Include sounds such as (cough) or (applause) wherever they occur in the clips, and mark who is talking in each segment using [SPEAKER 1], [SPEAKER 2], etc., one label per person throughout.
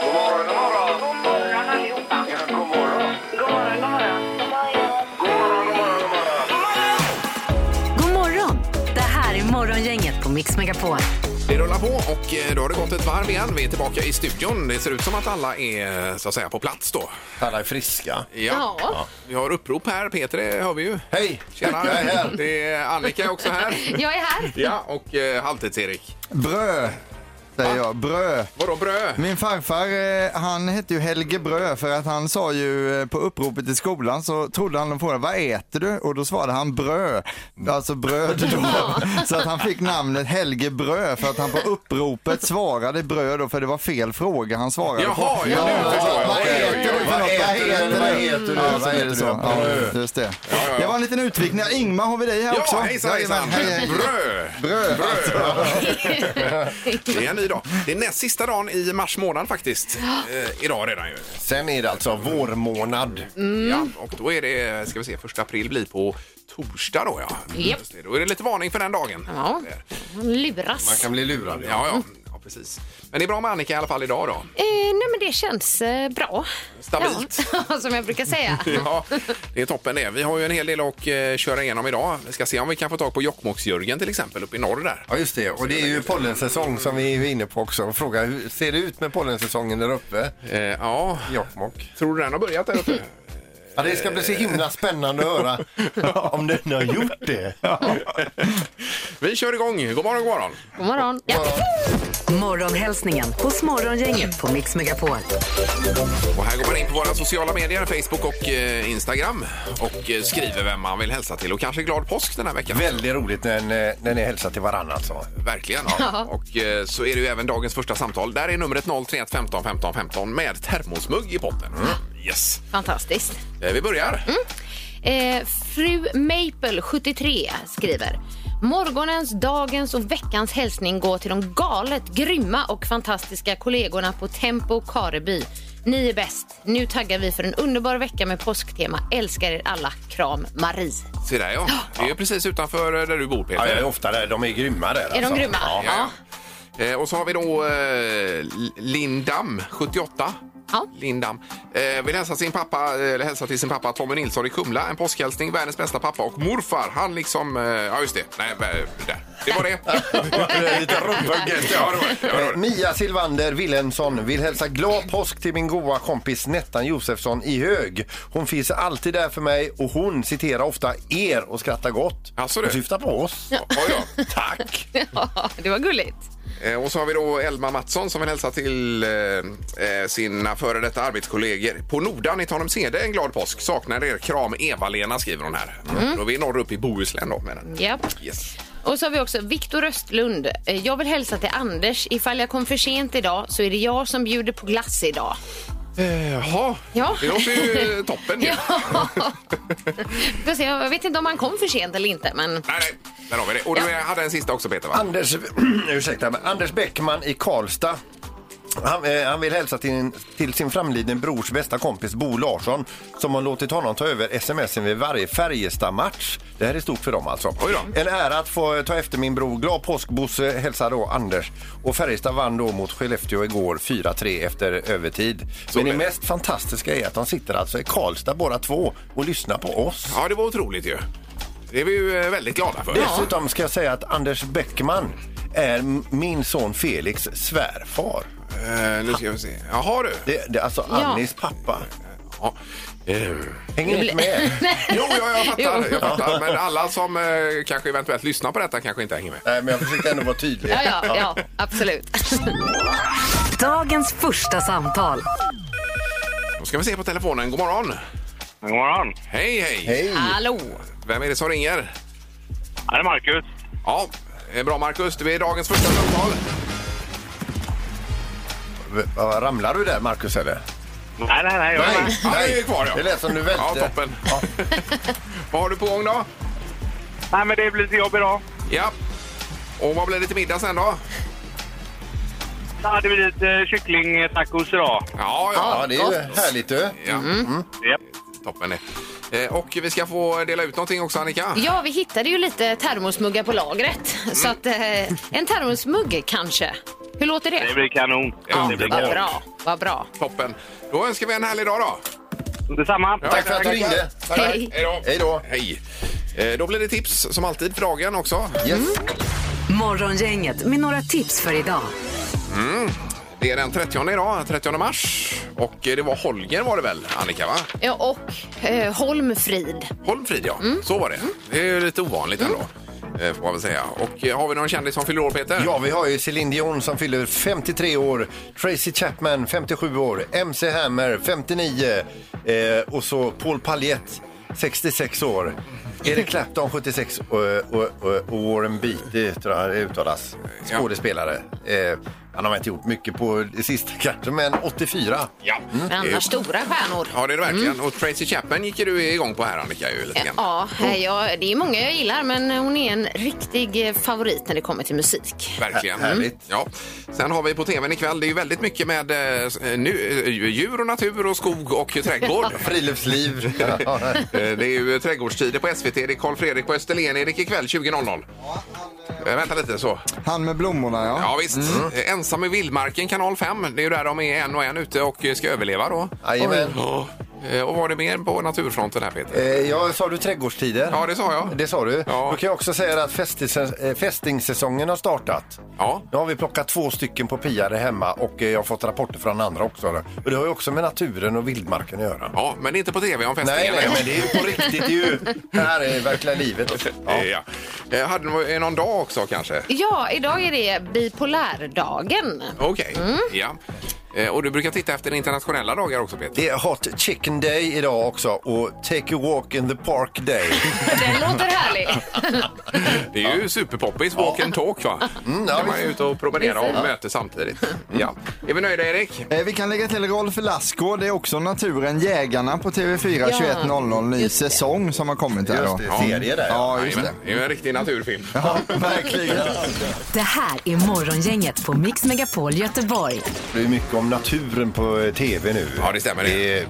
[SPEAKER 1] God morgon, god morgon.
[SPEAKER 2] God morgon allihopa.
[SPEAKER 1] Ja, god morgon.
[SPEAKER 2] God morgon, god morgon.
[SPEAKER 3] God
[SPEAKER 1] God morgon, god morgon, god morgon.
[SPEAKER 3] morgon! Det här är Morgongänget på Mix Megapol.
[SPEAKER 4] Det rullar på och eh, då har det gått ett varv igen. Vi är tillbaka i studion. Det ser ut som att alla är eh, så att säga på plats då.
[SPEAKER 5] Alla är friska.
[SPEAKER 4] Ja. Vi har upprop här. Peter det hör vi ju.
[SPEAKER 5] Hej!
[SPEAKER 4] Tjena!
[SPEAKER 5] Jag är här.
[SPEAKER 4] Det är Annika också här.
[SPEAKER 6] Jag är här.
[SPEAKER 4] Ja, och eh, Halvtids-Erik.
[SPEAKER 7] Brö, säger jag. Brö.
[SPEAKER 4] Vadå brö?
[SPEAKER 7] Min farfar, eh, han hette ju Helge Brö för att han sa ju eh, på uppropet i skolan så trodde han de frågade vad äter du? Och då svarade han brö, alltså bröd då. Så att han fick namnet Helge Brö för att han på uppropet svarade bröd då för det var fel fråga han svarade på.
[SPEAKER 4] Jaha, ja, nu förstår jag.
[SPEAKER 5] Vad
[SPEAKER 4] Okej,
[SPEAKER 5] äter
[SPEAKER 4] okej,
[SPEAKER 5] du?
[SPEAKER 4] okej.
[SPEAKER 5] Vad äter du? Vad äter du?
[SPEAKER 7] Ja, så
[SPEAKER 5] Vad
[SPEAKER 7] är det
[SPEAKER 5] äter
[SPEAKER 7] så. Ja, just det. Det var en liten utvikning. Ingmar har vi dig här också.
[SPEAKER 4] Ja, hejsan hejsan!
[SPEAKER 7] Jajamän, hej, hej.
[SPEAKER 4] Brö!
[SPEAKER 7] Brö.
[SPEAKER 4] Det är en ny dag. Det är näst sista dagen i mars månad faktiskt. Eh, idag redan ju.
[SPEAKER 5] du? Sen är det alltså vårmånad.
[SPEAKER 6] Mm.
[SPEAKER 4] Ja, och då är det, ska vi se, första april blir på torsdag då ja.
[SPEAKER 6] Japp.
[SPEAKER 4] Just det, Då är det lite varning för den dagen.
[SPEAKER 6] Ja.
[SPEAKER 5] Man
[SPEAKER 6] Luras.
[SPEAKER 5] kan bli lurad.
[SPEAKER 4] Ja, ja, ja precis. Men det är bra med Annika i alla fall idag då.
[SPEAKER 6] Eh, nej men det känns eh, bra.
[SPEAKER 4] Stabilt.
[SPEAKER 6] Ja, (laughs) som jag brukar säga.
[SPEAKER 4] Ja, det är toppen det. Vi har ju en hel del att eh, köra igenom idag. Vi ska se om vi kan få tag på Jokkmokks-Jörgen till exempel uppe i norr där.
[SPEAKER 5] Ja, just det. Och det är ju pollensäsong som vi är inne på också. Och Fråga, hur ser det ut med pollensäsongen där uppe
[SPEAKER 4] Eh, ja,
[SPEAKER 5] i Jokkmokk?
[SPEAKER 4] tror du den har börjat där uppe?
[SPEAKER 5] Ja, det ska bli så himla spännande att (laughs) höra om den har gjort det.
[SPEAKER 4] Vi kör igång. God morgon, god morgon.
[SPEAKER 6] God morgon. Ja.
[SPEAKER 3] Morgonhälsningen hos Morgongänget på Mix Megapol.
[SPEAKER 4] Och här går man in på våra sociala medier, Facebook och eh, Instagram och eh, skriver vem man vill hälsa till och kanske glad påsk den här veckan.
[SPEAKER 5] Väldigt roligt när, en- när ni hälsar till varandra alltså.
[SPEAKER 4] Verkligen. Och eh, så är det ju även dagens första samtal. Där är numret 031 15 15 15 med termosmugg i potten. Yes.
[SPEAKER 6] Fantastiskt.
[SPEAKER 4] Eh, Vi börjar.
[SPEAKER 6] Eh, fru Maple, 73, skriver. Morgonens, dagens och veckans hälsning går till de galet grymma och fantastiska kollegorna på Tempo Kareby. Ni är bäst. Nu taggar vi för en underbar vecka med påsktema. Älskar er alla. Kram, Marie. (laughs)
[SPEAKER 4] Se där ja. Det är ju precis utanför eh, där du bor Peter.
[SPEAKER 5] Ja, jag är ofta där. De är grymma där. alltså.
[SPEAKER 6] Är de grymma?
[SPEAKER 5] Ja.
[SPEAKER 4] Ja. Eh, och så har vi då eh, L- Lindam, 78.
[SPEAKER 6] Ja.
[SPEAKER 4] Lindam. Eh, vill hälsa, sin pappa, eh, eller hälsa till sin pappa Tommy Nilsson i Kumla. En påskhälsning, världens bästa pappa och morfar. Han liksom... Eh, ja, just det. Nej, eh, där. Det var det.
[SPEAKER 5] Det är lite rumphugget.
[SPEAKER 4] Ja, det var det. Ja, det var
[SPEAKER 5] Eh, Mia Silvander Wilhelmsson vill hälsa glad påsk till min goa kompis Nettan Josefsson i Hög. Hon finns alltid där för mig och hon citerar ofta er och skrattar gott.
[SPEAKER 4] Alltså det.
[SPEAKER 5] och syftar på oss.
[SPEAKER 4] Ja, ja.
[SPEAKER 5] Tack!
[SPEAKER 6] Ja, det var gulligt.
[SPEAKER 4] Eh, Och så har vi då Elma Mattsson som vill hälsa till eh, eh, sina före detta arbetskollegor på Nordan i Tanumshede en glad påsk. Saknar er. Kram Eva-Lena skriver hon här.
[SPEAKER 6] Mm.
[SPEAKER 4] Då är vi norr upp i Bohuslän då menar jag.
[SPEAKER 6] Japp.
[SPEAKER 4] Yes.
[SPEAKER 6] Och så har vi också Viktor Östlund. Eh, Jag vill hälsa till Anders. Ifall jag kom för sent idag så är det jag som bjuder på glass idag.
[SPEAKER 4] Eh, Jaha,
[SPEAKER 6] Ja.
[SPEAKER 4] det
[SPEAKER 6] (laughs)
[SPEAKER 4] låter ju toppen ju.
[SPEAKER 6] Ja. Får se, jag vet inte om han kom för sent eller inte, men
[SPEAKER 4] Nej, nej, där har vi det. Och du hade en sista också Peter va?
[SPEAKER 5] Anders, (clears throat) ursäkta, men Anders Bäckman i Karlstad. Han, eh, han vill hälsa till, till sin framlidne brors bästa kompis Bo Larsson som har låtit honom ta över smsen vid varje Färjestad-match. Det här är stort för dem alltså.
[SPEAKER 4] Oj då.
[SPEAKER 5] En ära att få ta efter min bror. Glad påsk Bosse, hälsar då Anders. Och Färjestad vann då mot Skellefteå igår 4-3 efter övertid. Men det
[SPEAKER 4] blev det.
[SPEAKER 5] mest fantastiska är att de sitter alltså i Karlstad båda två och lyssnar på oss.
[SPEAKER 4] Ja, det var otroligt ju. Det är vi ju eh, väldigt glada för.
[SPEAKER 5] Dessutom ska jag säga att Anders Bäckman är m- min son Felix svärfar.
[SPEAKER 4] Eh, nu ska vi se. Jaha du.
[SPEAKER 5] Det, det är alltså
[SPEAKER 6] Ja.
[SPEAKER 5] Annis pappa.
[SPEAKER 4] Ja. Eh,
[SPEAKER 5] Hänger inte med?
[SPEAKER 6] (laughs)
[SPEAKER 4] Jo, ja, jag fattar.
[SPEAKER 6] Jo.
[SPEAKER 4] Jag fattar. Men alla som eh, kanske eventuellt lyssnar på detta kanske inte hänger med.
[SPEAKER 5] Nej, men jag försökte ändå vara tydlig.
[SPEAKER 6] ja, ja, ja absolut.
[SPEAKER 3] Dagens första samtal.
[SPEAKER 4] Då ska vi se på telefonen. God morgon.
[SPEAKER 8] God morgon.
[SPEAKER 4] Hej, hej.
[SPEAKER 5] Hej!
[SPEAKER 6] Hallå!
[SPEAKER 4] Vem är det som ringer?
[SPEAKER 8] Ja, det är Marcus.
[SPEAKER 4] Ja, eh, bra Markus. Det är dagens första samtal.
[SPEAKER 5] V- vad, Ramlar du där, Marcus? Eller?
[SPEAKER 8] Nej, nej, nej. Jag är med.
[SPEAKER 4] Ja, det är kvar, ja.
[SPEAKER 5] Det lät som du välte.
[SPEAKER 4] Ja, toppen. (laughs) Vad har du på gång då?
[SPEAKER 8] nej men det blir lite jobb idag.
[SPEAKER 4] Ja. Och vad blir det till middag sen då?
[SPEAKER 8] Ja, det blir lite eh, kycklingtacos idag.
[SPEAKER 4] Ja,
[SPEAKER 5] Ja,
[SPEAKER 4] ja.
[SPEAKER 5] det är ju Mm. härligt du.
[SPEAKER 4] ja. Mm.
[SPEAKER 8] Japp.
[SPEAKER 4] Toppen det. Eh, Och vi ska få dela ut någonting också Annika.
[SPEAKER 6] Ja, vi hittade ju lite termosmuggar på lagret. Så att, eh, en termosmugg kanske? Hur låter det?
[SPEAKER 8] Det blir kanon.
[SPEAKER 6] Ja,
[SPEAKER 8] Det blir
[SPEAKER 6] vad
[SPEAKER 8] kanon.
[SPEAKER 6] bra. Vad bra.
[SPEAKER 4] Toppen. Då önskar vi en härlig dag då.
[SPEAKER 8] Detsamma.
[SPEAKER 5] Tack för att du ringde.
[SPEAKER 4] Tack.
[SPEAKER 6] Hej.
[SPEAKER 4] då.
[SPEAKER 5] Hej då.
[SPEAKER 4] Hej. Eh, Då blir det tips som alltid för dagen också.
[SPEAKER 6] Mm.
[SPEAKER 5] Yes.
[SPEAKER 3] Morgongänget med några tips för idag.
[SPEAKER 4] Det är den 30 idag, 30 mars. Och eh, det var Holger var det väl, Annika? va?
[SPEAKER 6] Ja, och eh, Holmfrid.
[SPEAKER 4] Holmfrid, ja. Så var det. Det är ju lite ovanligt ändå. eh, Får man väl säga. Och eh, har vi någon kändis som fyller år, Peter?
[SPEAKER 5] Ja, vi har ju Celine Dion som fyller 53 år, Tracy Chapman 57 år, MC Hammer 59 eh, och så Paul Paljett 66 år.
[SPEAKER 4] Mm.
[SPEAKER 5] Eric Clapton 76 och, och, och och Warren Beatty tror jag det uttalas. Skådespelare. Eh, han har inte gjort mycket på det sista kanske, men 84.
[SPEAKER 4] Ja.
[SPEAKER 5] Mm.
[SPEAKER 6] Men
[SPEAKER 4] Det är ju-
[SPEAKER 6] annars stora stjärnor.
[SPEAKER 4] Ja, det är det verkligen. Och Tracy Chapman gick ju du igång på här, Annika. Ju,
[SPEAKER 5] Eh,
[SPEAKER 4] lite grann.
[SPEAKER 6] Ja, ja, det är många jag gillar, men hon är en riktig eh, favorit när det kommer till musik.
[SPEAKER 4] Verkligen.
[SPEAKER 5] Här- härligt.
[SPEAKER 4] Ja. Sen har vi på tvn ikväll, det är ju väldigt mycket med eh, nu, eh, djur och natur och skog och
[SPEAKER 5] (laughs)
[SPEAKER 4] trädgård. (laughs)
[SPEAKER 5] Friluftsliv. Ja.
[SPEAKER 4] Eh, det är ju trädgårdstider på SVT. Det är Karl Fredrik på Österlen, Erik, ikväll 20.00. Eh, vänta lite så.
[SPEAKER 7] Han med blommorna ja.
[SPEAKER 4] Ja visst.
[SPEAKER 5] Mm.
[SPEAKER 4] Eh, Ensam i vildmarken, kanal 5. Det är ju där de är en och en ute och eh, ska överleva då.
[SPEAKER 5] Jajamän.
[SPEAKER 4] Ja. Eh, Och vad var det mer på naturfronten här Peter?
[SPEAKER 5] Eh, ja, sa du trädgårdstider?
[SPEAKER 4] Ja, det sa jag.
[SPEAKER 5] Det sa du.
[SPEAKER 4] Ja.
[SPEAKER 5] Då kan jag också säga att fästis- eh, fästingsäsongen har startat.
[SPEAKER 4] Ja.
[SPEAKER 5] Nu har vi plockat två stycken på Pia där hemma och eh, jag har fått rapporter från andra också. Och det har ju också med naturen och vildmarken att göra.
[SPEAKER 4] Ja, men inte på tv om
[SPEAKER 5] Nej,
[SPEAKER 4] fästingen.
[SPEAKER 5] nej, men det är ju på riktigt. Det, är ju, det här är verkliga livet.
[SPEAKER 4] Ja. Eh, Ja. Eh, Hade ni någon dag också kanske?
[SPEAKER 6] Ja, idag är det bipolärdagen.
[SPEAKER 4] Okej.
[SPEAKER 5] Mm.
[SPEAKER 4] Ja. Eh, Och du brukar titta efter internationella dagar också Peter?
[SPEAKER 5] Det är Hot Chicken Day idag också och Take a Walk in the Park Day.
[SPEAKER 6] Den låter härlig.
[SPEAKER 4] Det är ju superpoppis, walk and talk va?
[SPEAKER 5] Mm, ja,
[SPEAKER 4] Kan man är ute och promenera och möter samtidigt. Ja. Är vi nöjda Erik?
[SPEAKER 7] Eh, Vi kan lägga till Rolf Lassgård, det är också naturen. Jägarna på TV4
[SPEAKER 6] Ja,
[SPEAKER 7] 21.00, ny
[SPEAKER 6] just det.
[SPEAKER 7] säsong som har kommit här då.
[SPEAKER 4] Ja.
[SPEAKER 5] serie där. Ja.
[SPEAKER 7] Ja, just det.
[SPEAKER 4] Jajamän. Det är ju en riktig naturfilm.
[SPEAKER 7] Ja, verkligen.
[SPEAKER 3] Det här är Morgongänget på Mix Megapol Göteborg.
[SPEAKER 5] Det är mycket om naturen på eh, tv nu.
[SPEAKER 4] Ja, det stämmer.
[SPEAKER 5] Det är eh,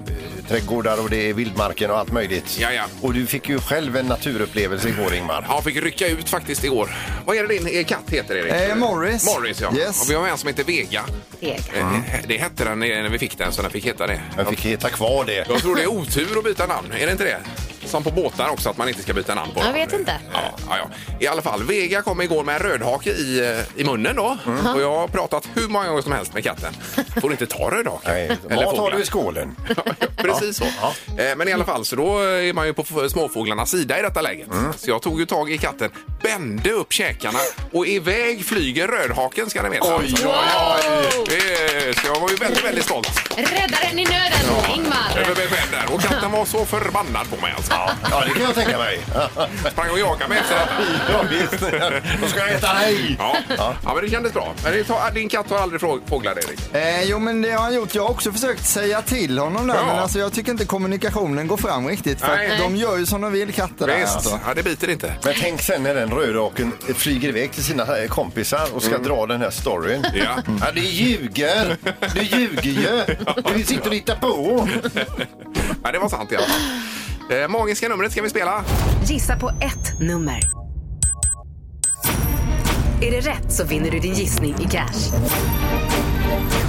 [SPEAKER 5] trädgårdar och det är vildmarken och allt möjligt.
[SPEAKER 4] Ja, ja.
[SPEAKER 5] Och du fick ju själv en naturupplevelse igår, Ingmar.
[SPEAKER 4] Ja, fick rycka ut faktiskt igår. Vad är det din eh, katt heter, Erik?
[SPEAKER 7] Eh, Morris.
[SPEAKER 4] Morris, ja.
[SPEAKER 7] Yes.
[SPEAKER 4] Och vi har en som heter Vega.
[SPEAKER 6] Vega.
[SPEAKER 4] Eh, Det hette den när vi fick den, så den fick heta det.
[SPEAKER 5] Jag fick heta kvar det.
[SPEAKER 4] Jag tror det är otur att byta namn, är det inte det? Som på båtar också, att man inte ska byta namn på
[SPEAKER 6] Jag
[SPEAKER 4] dem.
[SPEAKER 6] vet inte.
[SPEAKER 4] Ja, ja, ja. I alla fall, Vega kom igår med en rödhake i, eh, i munnen då.
[SPEAKER 5] Mm.
[SPEAKER 4] Och jag har pratat hur många gånger som helst med katten. Får inte ta rödhake.
[SPEAKER 5] Nej,
[SPEAKER 4] Eller
[SPEAKER 5] vad tar
[SPEAKER 4] fåglar.
[SPEAKER 5] du i skålen?
[SPEAKER 4] Ja, Precis så. Eh, Men i alla fall, så då är man ju på f- småfåglarnas sida i detta läget.
[SPEAKER 5] Mm.
[SPEAKER 4] Så jag tog ju tag i katten, bände upp käkarna och iväg flyger rödhaken ska ni veta. Alltså. Eh, Så jag var ju väldigt, väldigt stolt
[SPEAKER 6] Räddaren i nöden,
[SPEAKER 4] över
[SPEAKER 6] Ingmar.
[SPEAKER 4] mig själv där. Och katten var så förbannad på mig alltså.
[SPEAKER 5] (laughs) Ja, det kan jag tänka mig.
[SPEAKER 4] Sprang och jagade mig efter detta.
[SPEAKER 5] (laughs) Ja, visst. Då ska jag äta dig!
[SPEAKER 4] Ja. ja, men det kändes bra. Men det tar, din katt har aldrig frå- fåglar, Erik.
[SPEAKER 7] Eh, jo men det har han gjort. Jag har också försökt säga till honom där
[SPEAKER 4] Ja.
[SPEAKER 7] men alltså, jag tycker inte kommunikationen går fram riktigt. För
[SPEAKER 4] Nej.
[SPEAKER 7] att de gör ju som de vill katter där
[SPEAKER 4] Visst,
[SPEAKER 7] alltså.
[SPEAKER 4] ja, det biter inte.
[SPEAKER 5] Men tänk sen när den rödhaken flyger iväg till sina kompisar och ska dra den här storyn.
[SPEAKER 4] Ja.
[SPEAKER 5] Mm. Ja, du ljuger! Du ljuger ju! Du sitter och hittar på!
[SPEAKER 4] Ja, det var sant i alla fall. Eh, Magiska numret ska vi spela.
[SPEAKER 3] Gissa på ett nummer. Är det rätt så vinner du din gissning i cash.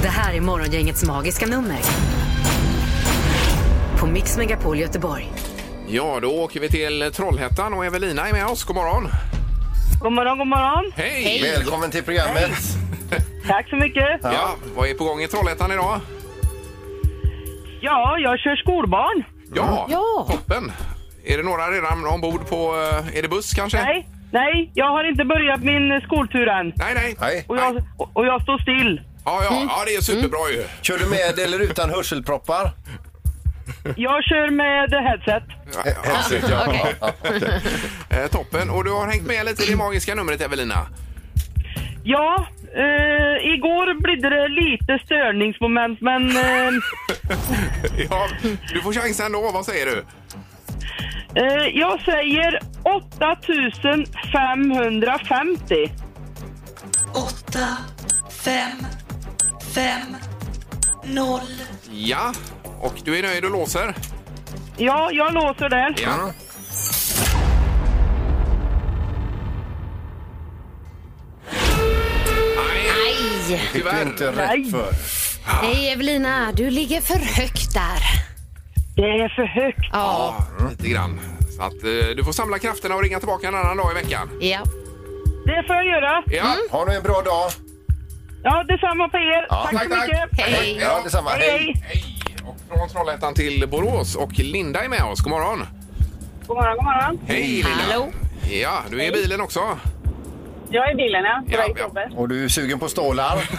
[SPEAKER 3] Det här är Morgongängets magiska nummer. På Mix Megapol Göteborg.
[SPEAKER 4] Ja, då åker vi till Trollhättan och Evelina är med oss. God morgon!
[SPEAKER 2] God morgon, god morgon.
[SPEAKER 4] Hej!
[SPEAKER 5] Välkommen till programmet!
[SPEAKER 2] Tack så mycket.
[SPEAKER 4] Ja, vad är på gång i Trollhättan idag?
[SPEAKER 2] Ja, jag kör skolbarn.
[SPEAKER 4] Ja,
[SPEAKER 6] Ja.
[SPEAKER 4] toppen! Är det några redan ombord på... eh, Är det buss kanske?
[SPEAKER 2] Nej, nej, jag har inte börjat min skoltur än.
[SPEAKER 4] Nej, nej. Mm.
[SPEAKER 5] Hej.
[SPEAKER 2] Och jag, och- och jag står still.
[SPEAKER 4] Ja, ja, ja, det är superbra ju.
[SPEAKER 5] Kör du med eller utan hörselproppar?
[SPEAKER 2] Jag kör med headset.
[SPEAKER 4] Ja, absolut, ja.
[SPEAKER 6] Okej.
[SPEAKER 4] (laughs) Eh, toppen. Och du har hängt med lite i det magiska numret, Evelina.
[SPEAKER 2] Ja, eh, igår blev det lite störningsmoment, men eh,
[SPEAKER 4] Ja, du får chansen ändå. Vad säger du?
[SPEAKER 2] eh, jag säger 8550.
[SPEAKER 9] åtta fem fem noll
[SPEAKER 4] Ja, och du är nöjd och låser?
[SPEAKER 2] Ja, jag låser det.
[SPEAKER 4] Ja. Aj,
[SPEAKER 6] Aj, Nej.
[SPEAKER 5] Det är
[SPEAKER 4] Tyvärr.
[SPEAKER 5] inte rätt
[SPEAKER 2] Nej.
[SPEAKER 5] för.
[SPEAKER 6] Nej, Evelina, du ligger för högt där.
[SPEAKER 2] Det är för högt.
[SPEAKER 6] Ja.
[SPEAKER 4] Lite grann. Så att eh, du får samla krafterna och ringa tillbaka en annan dag i veckan.
[SPEAKER 6] ja.
[SPEAKER 2] Det får jag göra.
[SPEAKER 4] Ja,
[SPEAKER 5] Ha nu en bra dag.
[SPEAKER 2] Ja, detsamma på er. tack,
[SPEAKER 4] tack,
[SPEAKER 2] så
[SPEAKER 4] tack.
[SPEAKER 2] mycket.
[SPEAKER 6] Hej.
[SPEAKER 5] Ja, detsamma.
[SPEAKER 2] Hej, hej.
[SPEAKER 4] hej! Och från Trollhättan till Borås och Linda är med oss. God morgon!
[SPEAKER 2] God morgon, god morgon.
[SPEAKER 4] Hej Linda!
[SPEAKER 6] Hallå.
[SPEAKER 4] Ja, du är i bilen också?
[SPEAKER 2] Jag är i bilen, ja.
[SPEAKER 4] Ja, väg till ja. jobbet.
[SPEAKER 5] Och du är sugen på stålar?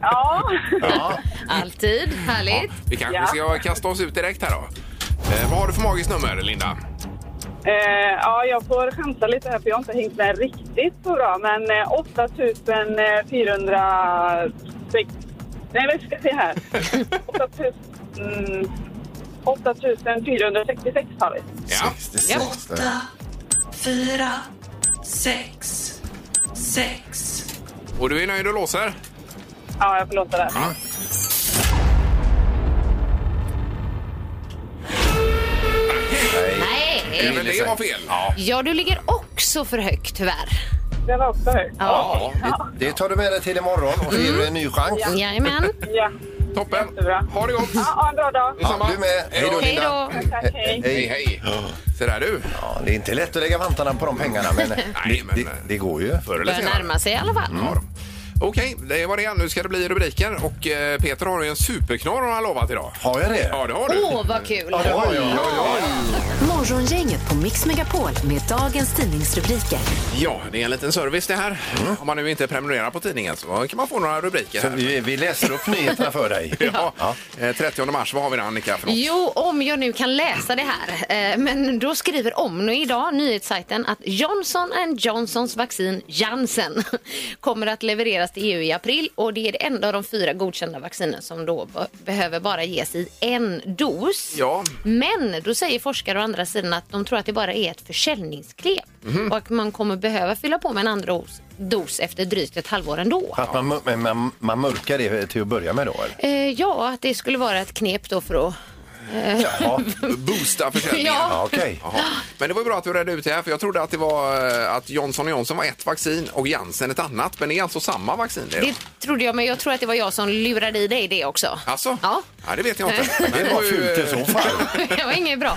[SPEAKER 2] Ja.
[SPEAKER 5] Ja.
[SPEAKER 6] Alltid. Härligt.
[SPEAKER 4] Vi kanske ska kasta oss ut direkt här då. Eh, vad har du för magiskt nummer Linda?
[SPEAKER 2] Eh, ja, jag får chansa lite här för jag har inte hängt med riktigt så bra. Men eh, 8406... Nej, vi ska se här. 8000... Mm, 8466 har vi.
[SPEAKER 4] Ja.
[SPEAKER 9] åtta, fyra, sex, sex.
[SPEAKER 4] Och du är nöjd och låser?
[SPEAKER 2] Ja, jag får låta det.
[SPEAKER 6] Nej.
[SPEAKER 4] Även det var fel. Ja.
[SPEAKER 6] Ja, du ligger också för högt tyvärr.
[SPEAKER 2] Det var också högt.
[SPEAKER 4] ja.
[SPEAKER 5] Det tar du med dig till imorgon och så ger du en ny chans.
[SPEAKER 6] Jajamän.
[SPEAKER 2] Ja.
[SPEAKER 4] Toppen.
[SPEAKER 2] Jättebra.
[SPEAKER 4] Ha det gott.
[SPEAKER 2] Ja, ha en bra dag.
[SPEAKER 5] Ja, du med. Hej då,
[SPEAKER 6] Hej
[SPEAKER 5] Linda.
[SPEAKER 6] då.
[SPEAKER 2] Tack, hej.
[SPEAKER 4] Hej, hej. Så där du.
[SPEAKER 5] Ja, det är inte lätt att lägga vantarna på de pengarna, men eh,
[SPEAKER 4] Nej, men
[SPEAKER 5] det, det går ju.
[SPEAKER 4] förr eller
[SPEAKER 6] Börjar
[SPEAKER 4] senare.
[SPEAKER 6] närma sig i alla fall.
[SPEAKER 4] Ja, då. Okej, det var det. Nu ska det bli rubriker. Och eh, Peter har ju en superknorr han har lovat idag.
[SPEAKER 5] Har jag det?
[SPEAKER 4] Ja, det har du.
[SPEAKER 6] Åh, vad kul!
[SPEAKER 5] det har jag.
[SPEAKER 3] Morgongänget på Mix Megapol med dagens tidningsrubriker.
[SPEAKER 4] Ja, det är en liten service det här.
[SPEAKER 5] Mm.
[SPEAKER 4] Om man nu inte prenumererar på tidningen så kan man få några rubriker.
[SPEAKER 5] Så
[SPEAKER 4] Här.
[SPEAKER 5] vi, vi läser upp nyheterna för dig.
[SPEAKER 4] Ja. Eh, 30 mars, vad har vi då Annika? För något?
[SPEAKER 6] Jo, om jag nu kan läsa det här. Eh, Men då skriver Omni idag, nyhetssajten, att Johnson Johnsons vaccin Janssen (laughs) kommer att levereras till EU i april och det är det enda av de fyra godkända vaccinen som då be- behöver bara ges i en dos.
[SPEAKER 4] Ja.
[SPEAKER 6] Men då säger forskare å andra sidan att de tror att det bara är ett försäljningsknep och att man kommer behöva fylla på med en andra dos, dos efter drygt ett halvår ändå.
[SPEAKER 5] Att man, mör- men man, man mörkar det till att börja med då? Eller?
[SPEAKER 6] Eh, Ja, att det skulle vara ett knep då för att...
[SPEAKER 5] Ja,
[SPEAKER 4] Boosta försäljningen.
[SPEAKER 6] Ja.
[SPEAKER 5] ja okej.
[SPEAKER 4] Jaha. Men det var ju bra att du redde ut det här för jag trodde att det var eh, att Johnson Johnson var ett vaccin och Janssen ett annat. Men det är alltså samma vaccin? Det...
[SPEAKER 6] Det trodde jag, men jag tror att det var jag som lurade i dig det också.
[SPEAKER 4] Alltså?
[SPEAKER 6] Ja. (laughs)
[SPEAKER 4] ja, det vet jag inte. Men
[SPEAKER 5] Det var fult i så fall.
[SPEAKER 6] Det var inget bra.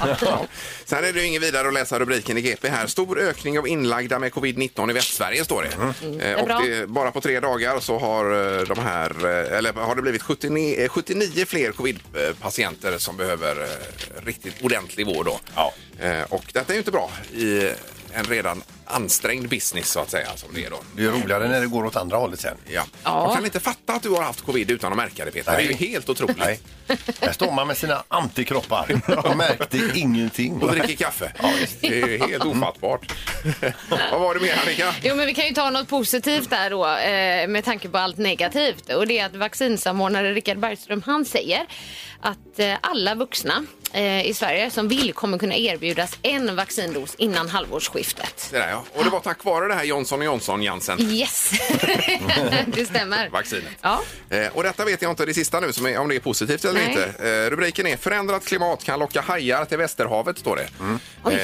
[SPEAKER 4] Sen är det ju inget vidare att läsa rubriken i GP här. Stor ökning av inlagda med covid-19 i Västsverige står det.
[SPEAKER 6] Mm.
[SPEAKER 4] Eh,
[SPEAKER 6] bra.
[SPEAKER 4] och det, bara på tre dagar så har eh, de här, eh, eller har det blivit 79, eh, 79 fler covid-patienter som behöver eh, riktigt ordentlig vård då.
[SPEAKER 5] Ja.
[SPEAKER 4] Eh, och detta är ju inte bra i en redan ansträngd business så att säga som det är då.
[SPEAKER 5] Det är ju roligare när det går åt andra hållet sen.
[SPEAKER 4] Ja.
[SPEAKER 6] Ja.
[SPEAKER 4] Jag kan inte fatta att du har haft covid utan att märka det Peter. Det är ju
[SPEAKER 5] Nej.
[SPEAKER 4] helt otroligt.
[SPEAKER 5] Nej. Där står man med sina antikroppar och märkte ingenting.
[SPEAKER 4] Och dricker kaffe. det är ju helt
[SPEAKER 5] Mm.
[SPEAKER 4] ofattbart. Vad var det mer Annika?
[SPEAKER 6] Jo, men vi kan ju ta något positivt där då eh, med tanke på allt negativt. Och det är att vaccinsamordnare Richard Bergström, han säger att eh, alla vuxna eh, i Sverige som vill kommer kunna erbjudas en vaccindos innan halvårsskiftet.
[SPEAKER 4] Det där, ja. Och det var tack vare det här Johnson Johnson Jansen.
[SPEAKER 6] Yes, (laughs) det stämmer.
[SPEAKER 4] Vaccinet.
[SPEAKER 6] Ja.
[SPEAKER 4] Eh, och detta vet jag inte det sista nu som är, om det är positivt eller
[SPEAKER 6] Nej.
[SPEAKER 4] inte. Eh, rubriken är Förändrat klimat kan locka hajar till Västerhavet står det.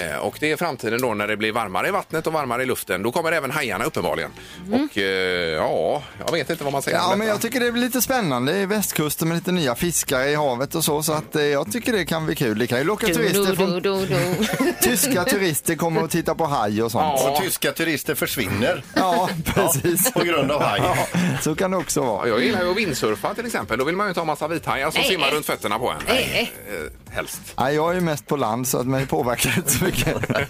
[SPEAKER 4] Eh, och det är framtiden då när det blir varmare i vattnet och varmare i luften. Då kommer även hajarna uppenbarligen. Och eh, ja, jag vet inte vad man säger om
[SPEAKER 7] Ja,
[SPEAKER 4] detta.
[SPEAKER 7] men jag tycker det blir lite spännande i västkusten med lite nya fiskar i havet och så. Så att eh, jag tycker det kan bli kul. Det kan ju locka
[SPEAKER 6] Du,
[SPEAKER 7] turister
[SPEAKER 6] du,
[SPEAKER 7] från...
[SPEAKER 6] du, du, du.
[SPEAKER 7] (laughs) Tyska turister kommer och titta på haj och sånt.
[SPEAKER 5] Och tyska turister försvinner
[SPEAKER 7] Ja, precis.
[SPEAKER 5] på grund av haj.
[SPEAKER 7] Så kan det också
[SPEAKER 4] Ja,
[SPEAKER 7] vara.
[SPEAKER 4] Jag gillar ju att vindsurfa till exempel. Då vill man ju inte ha massa vithajar som
[SPEAKER 6] Nej.
[SPEAKER 4] simmar runt fötterna på en.
[SPEAKER 6] Nej.
[SPEAKER 4] Eh, helst.
[SPEAKER 7] Nej, jag är ju mest på land så att mig påverkar det inte så mycket.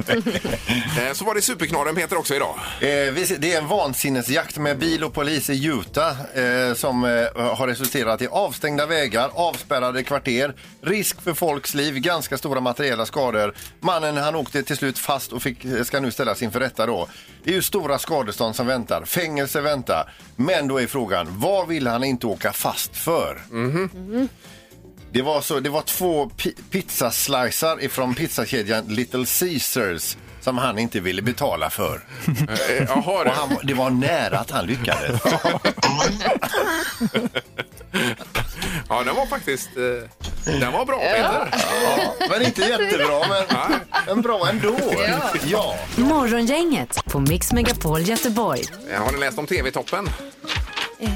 [SPEAKER 4] Eh, så var det superknorren Peter också idag.
[SPEAKER 5] Eh, vi ser- det är en vansinnesjakt med bil och polis i Utah eh, som eh, har resulterat i avstängda vägar, avspärrade kvarter, risk för folks liv, ganska stora materiella skador. Mannen han åkte till slut fast och fick, eh, ska nu ställas inför rätta då. Det är ju stora skadestånd som väntar, fängelse väntar. Men då är frågan, vad vill han inte åka fast för? Det var, så, det var två pi- pizzaslicer ifrån pizzakedjan Little Caesars som han inte ville betala för.
[SPEAKER 4] Eh, jaha,
[SPEAKER 5] Och
[SPEAKER 4] det.
[SPEAKER 5] han, det var nära att han lyckades.
[SPEAKER 4] Ja, den var faktiskt... Eh, den var bra Peter.
[SPEAKER 5] Ja, men inte jättebra, (laughs) men, men bra ändå. Ja.
[SPEAKER 3] Morgongänget på Mix Megapol Göteborg.
[SPEAKER 4] Eh, Har ni läst om TV-toppen?
[SPEAKER 6] Eh,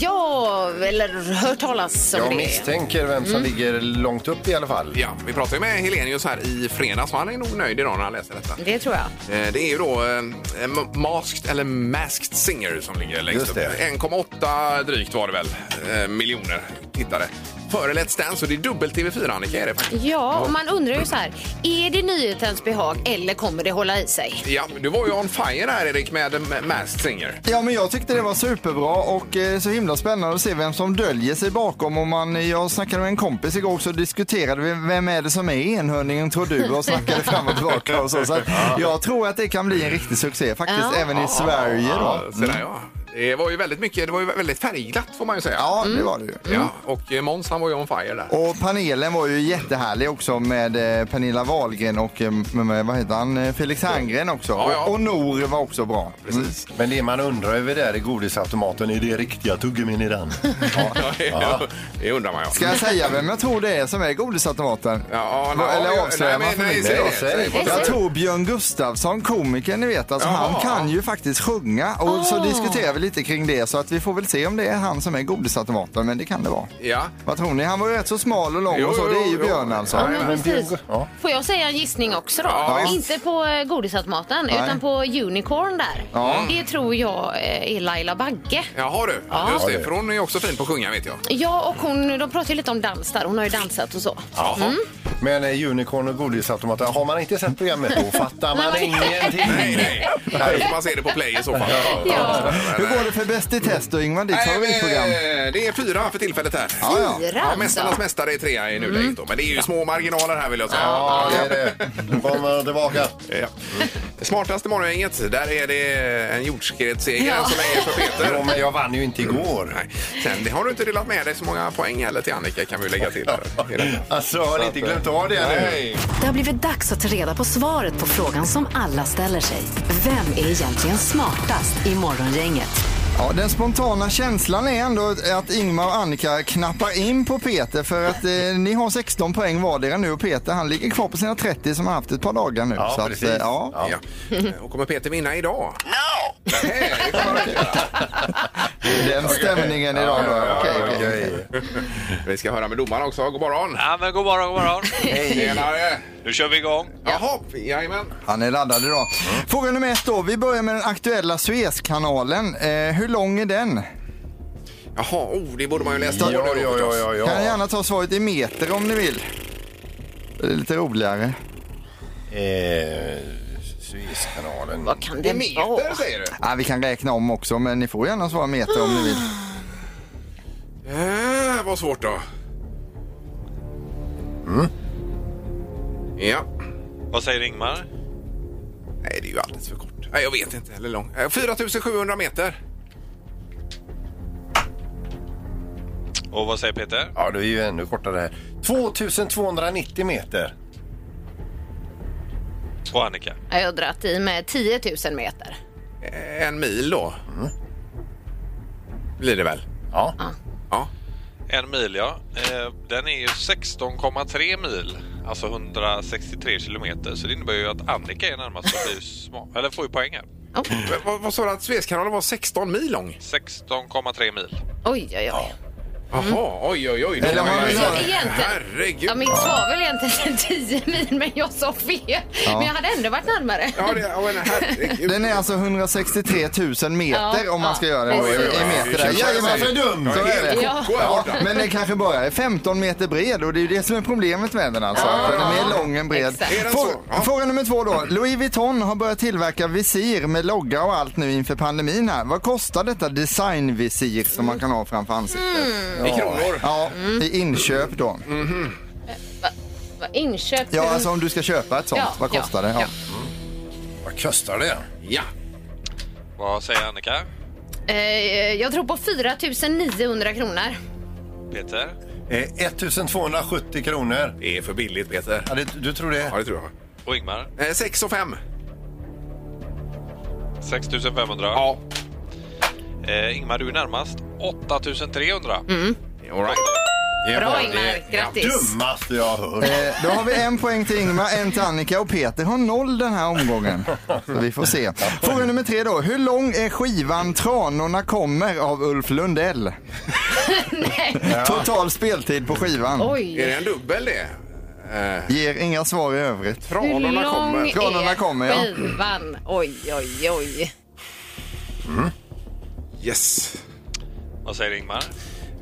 [SPEAKER 6] Ja, eller hört talas om
[SPEAKER 5] Jag
[SPEAKER 6] det.
[SPEAKER 5] misstänker vem som ligger långt upp i alla fall.
[SPEAKER 4] Ja, vi pratade ju med Helenius här i fredags och han är nog nöjd idag när han läser detta.
[SPEAKER 6] Det tror jag.
[SPEAKER 4] Eh, Det är ju då eh, M- Masked eller Masked Singer som ligger längst
[SPEAKER 5] Just
[SPEAKER 4] upp.
[SPEAKER 5] det.
[SPEAKER 4] 1,8 drygt var det väl, eh, miljoner tittare. Före Let's Dance och det är dubbel TV4 Annika är det faktiskt.
[SPEAKER 6] Ja, och man undrar ju så här, är det nyhetens behag eller kommer det hålla i sig?
[SPEAKER 4] Ja, du var ju on fire här Erik med M- Masked Singer.
[SPEAKER 7] Ja, men jag tyckte det var superbra och eh, så himla spännande att se vem som döljer sig bakom. Och man, eh, jag snackade med en kompis igår så diskuterade vi vem är det som är enhörningen tror du och snackade fram och tillbaka och så. så att jag tror att det kan bli en riktig succé faktiskt,
[SPEAKER 6] Ja.
[SPEAKER 7] även i Sverige då. Mm.
[SPEAKER 4] Så där, ja. Det var ju väldigt mycket, det var ju väldigt färgglatt får man ju säga.
[SPEAKER 7] Ja, det var det ju.
[SPEAKER 4] Ja, och eh, Måns han var ju on fire där.
[SPEAKER 7] Och panelen var ju jättehärlig också med eh, Pernilla Wahlgren och eh, med, med, vad heter han? Eh, Felix Herngren också.
[SPEAKER 4] Ja, ja.
[SPEAKER 7] Och, och Nor var också bra.
[SPEAKER 4] Precis.
[SPEAKER 5] Men det man undrar över där i godisautomaten, är det riktiga tuggummin i (laughs) den?
[SPEAKER 4] (laughs) Ja. Det undrar man ju.
[SPEAKER 7] Ska jag säga vem jag tror det är som är godisautomaten?
[SPEAKER 4] Ja,
[SPEAKER 7] Va-
[SPEAKER 4] nej,
[SPEAKER 7] Eller
[SPEAKER 4] ja,
[SPEAKER 7] avslöjar
[SPEAKER 4] nej,
[SPEAKER 7] man för
[SPEAKER 4] nej,
[SPEAKER 7] mycket?
[SPEAKER 4] säg det,
[SPEAKER 7] Jag
[SPEAKER 4] säg det.
[SPEAKER 7] säger- Jag tror Björn Gustafsson, komikern ni vet, alltså
[SPEAKER 4] Jaha. Ah.
[SPEAKER 7] han kan ju faktiskt sjunga och så diskuterar vi lite kring det så att vi får väl se om det är han som är godisautomaten, men det kan det vara.
[SPEAKER 4] Ja.
[SPEAKER 7] Vad tror ni? Han var ju rätt så smal och lång
[SPEAKER 4] Jo,
[SPEAKER 7] och så,
[SPEAKER 4] jo,
[SPEAKER 7] det är ju
[SPEAKER 4] jo.
[SPEAKER 7] Björn alltså.
[SPEAKER 4] Ja,
[SPEAKER 6] Men precis.
[SPEAKER 5] Ja.
[SPEAKER 6] Får jag säga en gissning också då?
[SPEAKER 4] Ja, visst.
[SPEAKER 6] Inte på eh, godisautomaten,
[SPEAKER 7] Nej.
[SPEAKER 6] utan på Unicorn där.
[SPEAKER 7] Ja.
[SPEAKER 6] Det tror jag eh, är Laila Bagge.
[SPEAKER 4] Jaha du,
[SPEAKER 6] Ja.
[SPEAKER 4] just
[SPEAKER 5] Ja,
[SPEAKER 4] det.
[SPEAKER 5] det.
[SPEAKER 4] För hon är ju också fin på att sjunga vet jag.
[SPEAKER 6] Ja, och hon, de pratar ju lite om dans där. Hon har ju dansat och så.
[SPEAKER 4] Jaha.
[SPEAKER 5] Men eh, Unicorn och godisautomaten, har man inte sett programmet då fattar man ingenting.
[SPEAKER 4] Nej, nej. Här får man se det på play i så fall.
[SPEAKER 6] Ja.
[SPEAKER 7] Hur går det för Bäst i test och Ingvar, ditt
[SPEAKER 4] Nej,
[SPEAKER 7] favoritprogram?
[SPEAKER 4] men, Det är fyra för tillfället här.
[SPEAKER 7] Ja, ja.
[SPEAKER 6] Fyra
[SPEAKER 4] Ja,
[SPEAKER 6] alltså.
[SPEAKER 4] Mästarnas mästare är trea i nuläget då. Men det är ju små marginaler här vill jag säga.
[SPEAKER 5] Ja, det är det. Nu kommer de tillbaka.
[SPEAKER 4] Ja. Smartaste morgongänget, där är det en jordskredsseger än så länge för
[SPEAKER 5] Jo,
[SPEAKER 4] Peter.
[SPEAKER 5] men jag vann ju inte (laughs) igår.
[SPEAKER 4] Nej. Sen det har du inte delat med dig så många poäng heller till Annika kan vi lägga till. Här.
[SPEAKER 5] Alltså, har ni inte glömt av det nu?
[SPEAKER 4] Nej.
[SPEAKER 3] Det har blivit dags att ta reda på svaret på frågan som alla ställer sig. Vem är egentligen smartast i Morgongänget?
[SPEAKER 7] Ja, den spontana känslan är ändå att Ingmar och Annika knappar in på Peter för att eh, ni har 16 poäng vardera nu och Peter han ligger kvar på sina 30 som han haft ett par dagar nu.
[SPEAKER 5] Ja,
[SPEAKER 7] så att,
[SPEAKER 5] precis.
[SPEAKER 7] eh, ja.
[SPEAKER 4] Ja. (laughs) Och kommer Peter vinna idag?
[SPEAKER 1] No!
[SPEAKER 4] Nej, det kommer han inte.
[SPEAKER 7] Den stämningen idag då. Okej, okej.
[SPEAKER 5] Okej.
[SPEAKER 4] Vi ska höra med domaren också. God morgon!
[SPEAKER 8] Ja, men god morgon, god morgon.
[SPEAKER 4] Tjenare!
[SPEAKER 8] Nu kör vi igång.
[SPEAKER 4] Jaha, jajamän.
[SPEAKER 7] Han är laddad idag.
[SPEAKER 5] Mm.
[SPEAKER 7] Fråga nummer ett då. Vi börjar med den aktuella Suezkanalen. Eh, hur lång är den?
[SPEAKER 4] Jaha, oh, det borde man ju läst på
[SPEAKER 5] Ja,
[SPEAKER 4] nu
[SPEAKER 5] ja,
[SPEAKER 4] då förstås.
[SPEAKER 5] ja, ja,
[SPEAKER 7] Kan
[SPEAKER 5] ja.
[SPEAKER 7] gärna ta svaret i meter om ni vill. Det är lite roligare.
[SPEAKER 5] Eh, Suezkanalen.
[SPEAKER 6] Vad kan det
[SPEAKER 4] I meter säger du?
[SPEAKER 7] Ah, vi kan räkna om också men ni får gärna svara meter om ni vill.
[SPEAKER 4] Äh, vad svårt då.
[SPEAKER 5] Mm.
[SPEAKER 4] Ja.
[SPEAKER 8] Vad säger Ingmar?
[SPEAKER 4] Nej, det är ju alldeles för kort. Nej, jag vet inte. Eller lång. Eh, 4700 meter.
[SPEAKER 8] Och vad säger Peter?
[SPEAKER 5] Ja, det är ju ännu kortare här. 2290 meter.
[SPEAKER 8] Och Annika?
[SPEAKER 6] Ja, Jag har dragit i med 10 000 meter.
[SPEAKER 4] Eh, En mil då.
[SPEAKER 5] Mm.
[SPEAKER 4] Blir det väl?
[SPEAKER 5] Ja.
[SPEAKER 4] Ja.
[SPEAKER 8] En mil, ja. Eh, Den är ju 16,3 mil, alltså 163 kilometer. Så det innebär ju att Annika är närmast och blir smart. Eller får ju poäng här.
[SPEAKER 6] Oh.
[SPEAKER 4] Men Vad, vad sa du att Suezkanalen var 16 mil lång?
[SPEAKER 8] 16,3 mil.
[SPEAKER 6] Oj, oj, oj.
[SPEAKER 4] Jaha, oj, oj, oj.
[SPEAKER 7] Eller
[SPEAKER 4] Det var
[SPEAKER 7] man
[SPEAKER 4] ju-
[SPEAKER 7] vill ha-
[SPEAKER 6] Egentligen-
[SPEAKER 4] Herregud.
[SPEAKER 6] Ja, mitt svar var väl egentligen (laughs) 10 mil, men jag sa fel. Men jag hade ändå varit närmare.
[SPEAKER 4] Ja, det, ja, men herregud.
[SPEAKER 7] Den är alltså 163 000 meter
[SPEAKER 6] Ja,
[SPEAKER 7] om man ska
[SPEAKER 6] ja,
[SPEAKER 7] göra den
[SPEAKER 6] precis.
[SPEAKER 7] i
[SPEAKER 6] Oj, oj, oj.
[SPEAKER 7] meter. Där.
[SPEAKER 5] Ursäkta,
[SPEAKER 7] Jajamän,
[SPEAKER 5] jag är dum.
[SPEAKER 7] Så
[SPEAKER 4] Jag
[SPEAKER 7] är
[SPEAKER 4] är
[SPEAKER 7] det.
[SPEAKER 4] helt
[SPEAKER 6] Ja.
[SPEAKER 4] koko här borta.
[SPEAKER 7] Men den kanske bara är 15 meter bred och det är ju det som är problemet med den alltså. att Den är mer lång än bred.
[SPEAKER 6] Exakt.
[SPEAKER 4] Är den
[SPEAKER 7] Frå-
[SPEAKER 4] så? Ja.
[SPEAKER 7] Fråga nummer två då. Louis Vuitton har börjat tillverka visir med logga och allt nu inför pandemin här. Vad kostar detta designvisir som man kan ha framför ansiktet?
[SPEAKER 6] Mm.
[SPEAKER 4] I kronor.
[SPEAKER 7] Ja, i inköp då.
[SPEAKER 6] Vad (laughs) Inköp...
[SPEAKER 7] Ja, alltså om du ska köpa ett sånt,
[SPEAKER 6] Ja,
[SPEAKER 7] vad
[SPEAKER 6] ja,
[SPEAKER 7] kostar det? Ja.
[SPEAKER 6] ja.
[SPEAKER 5] Vad kostar det?
[SPEAKER 4] Ja.
[SPEAKER 8] Vad säger Annika?
[SPEAKER 6] Eh, Jag tror på 4 900 kronor.
[SPEAKER 8] Peter?
[SPEAKER 5] Eh, 1270 kronor.
[SPEAKER 4] Det är för billigt, Peter.
[SPEAKER 5] Ja, det, du tror
[SPEAKER 4] Ja,
[SPEAKER 5] det?
[SPEAKER 4] det tror
[SPEAKER 8] Och Ingmar?
[SPEAKER 4] jag. Eh, 6 och 5.
[SPEAKER 8] 6500.
[SPEAKER 4] Ja.
[SPEAKER 8] Eh, Ingmar, du är närmast. 8300.
[SPEAKER 4] All right.
[SPEAKER 5] Det
[SPEAKER 6] Bra
[SPEAKER 5] var
[SPEAKER 6] Ingmar,
[SPEAKER 5] det
[SPEAKER 6] grattis!
[SPEAKER 5] dummaste jag har hört.
[SPEAKER 7] Eh, Då har vi en poäng till Ingmar, en till Annika och Peter har noll den här omgången. Så vi får se. Fråga nummer tre då. Hur lång är skivan Tranorna kommer av Ulf Lundell? (laughs) Total speltid på skivan.
[SPEAKER 4] Är
[SPEAKER 6] Oj,
[SPEAKER 4] det en dubbel det? Eh,
[SPEAKER 7] Ger inga svar i övrigt.
[SPEAKER 6] hur
[SPEAKER 4] tranorna
[SPEAKER 6] lång
[SPEAKER 4] kommer.
[SPEAKER 7] Tranorna
[SPEAKER 6] är
[SPEAKER 7] kommer, ja.
[SPEAKER 6] skivan? Oj, oj, oj.
[SPEAKER 4] Yes.
[SPEAKER 8] Vad säger Ingmar?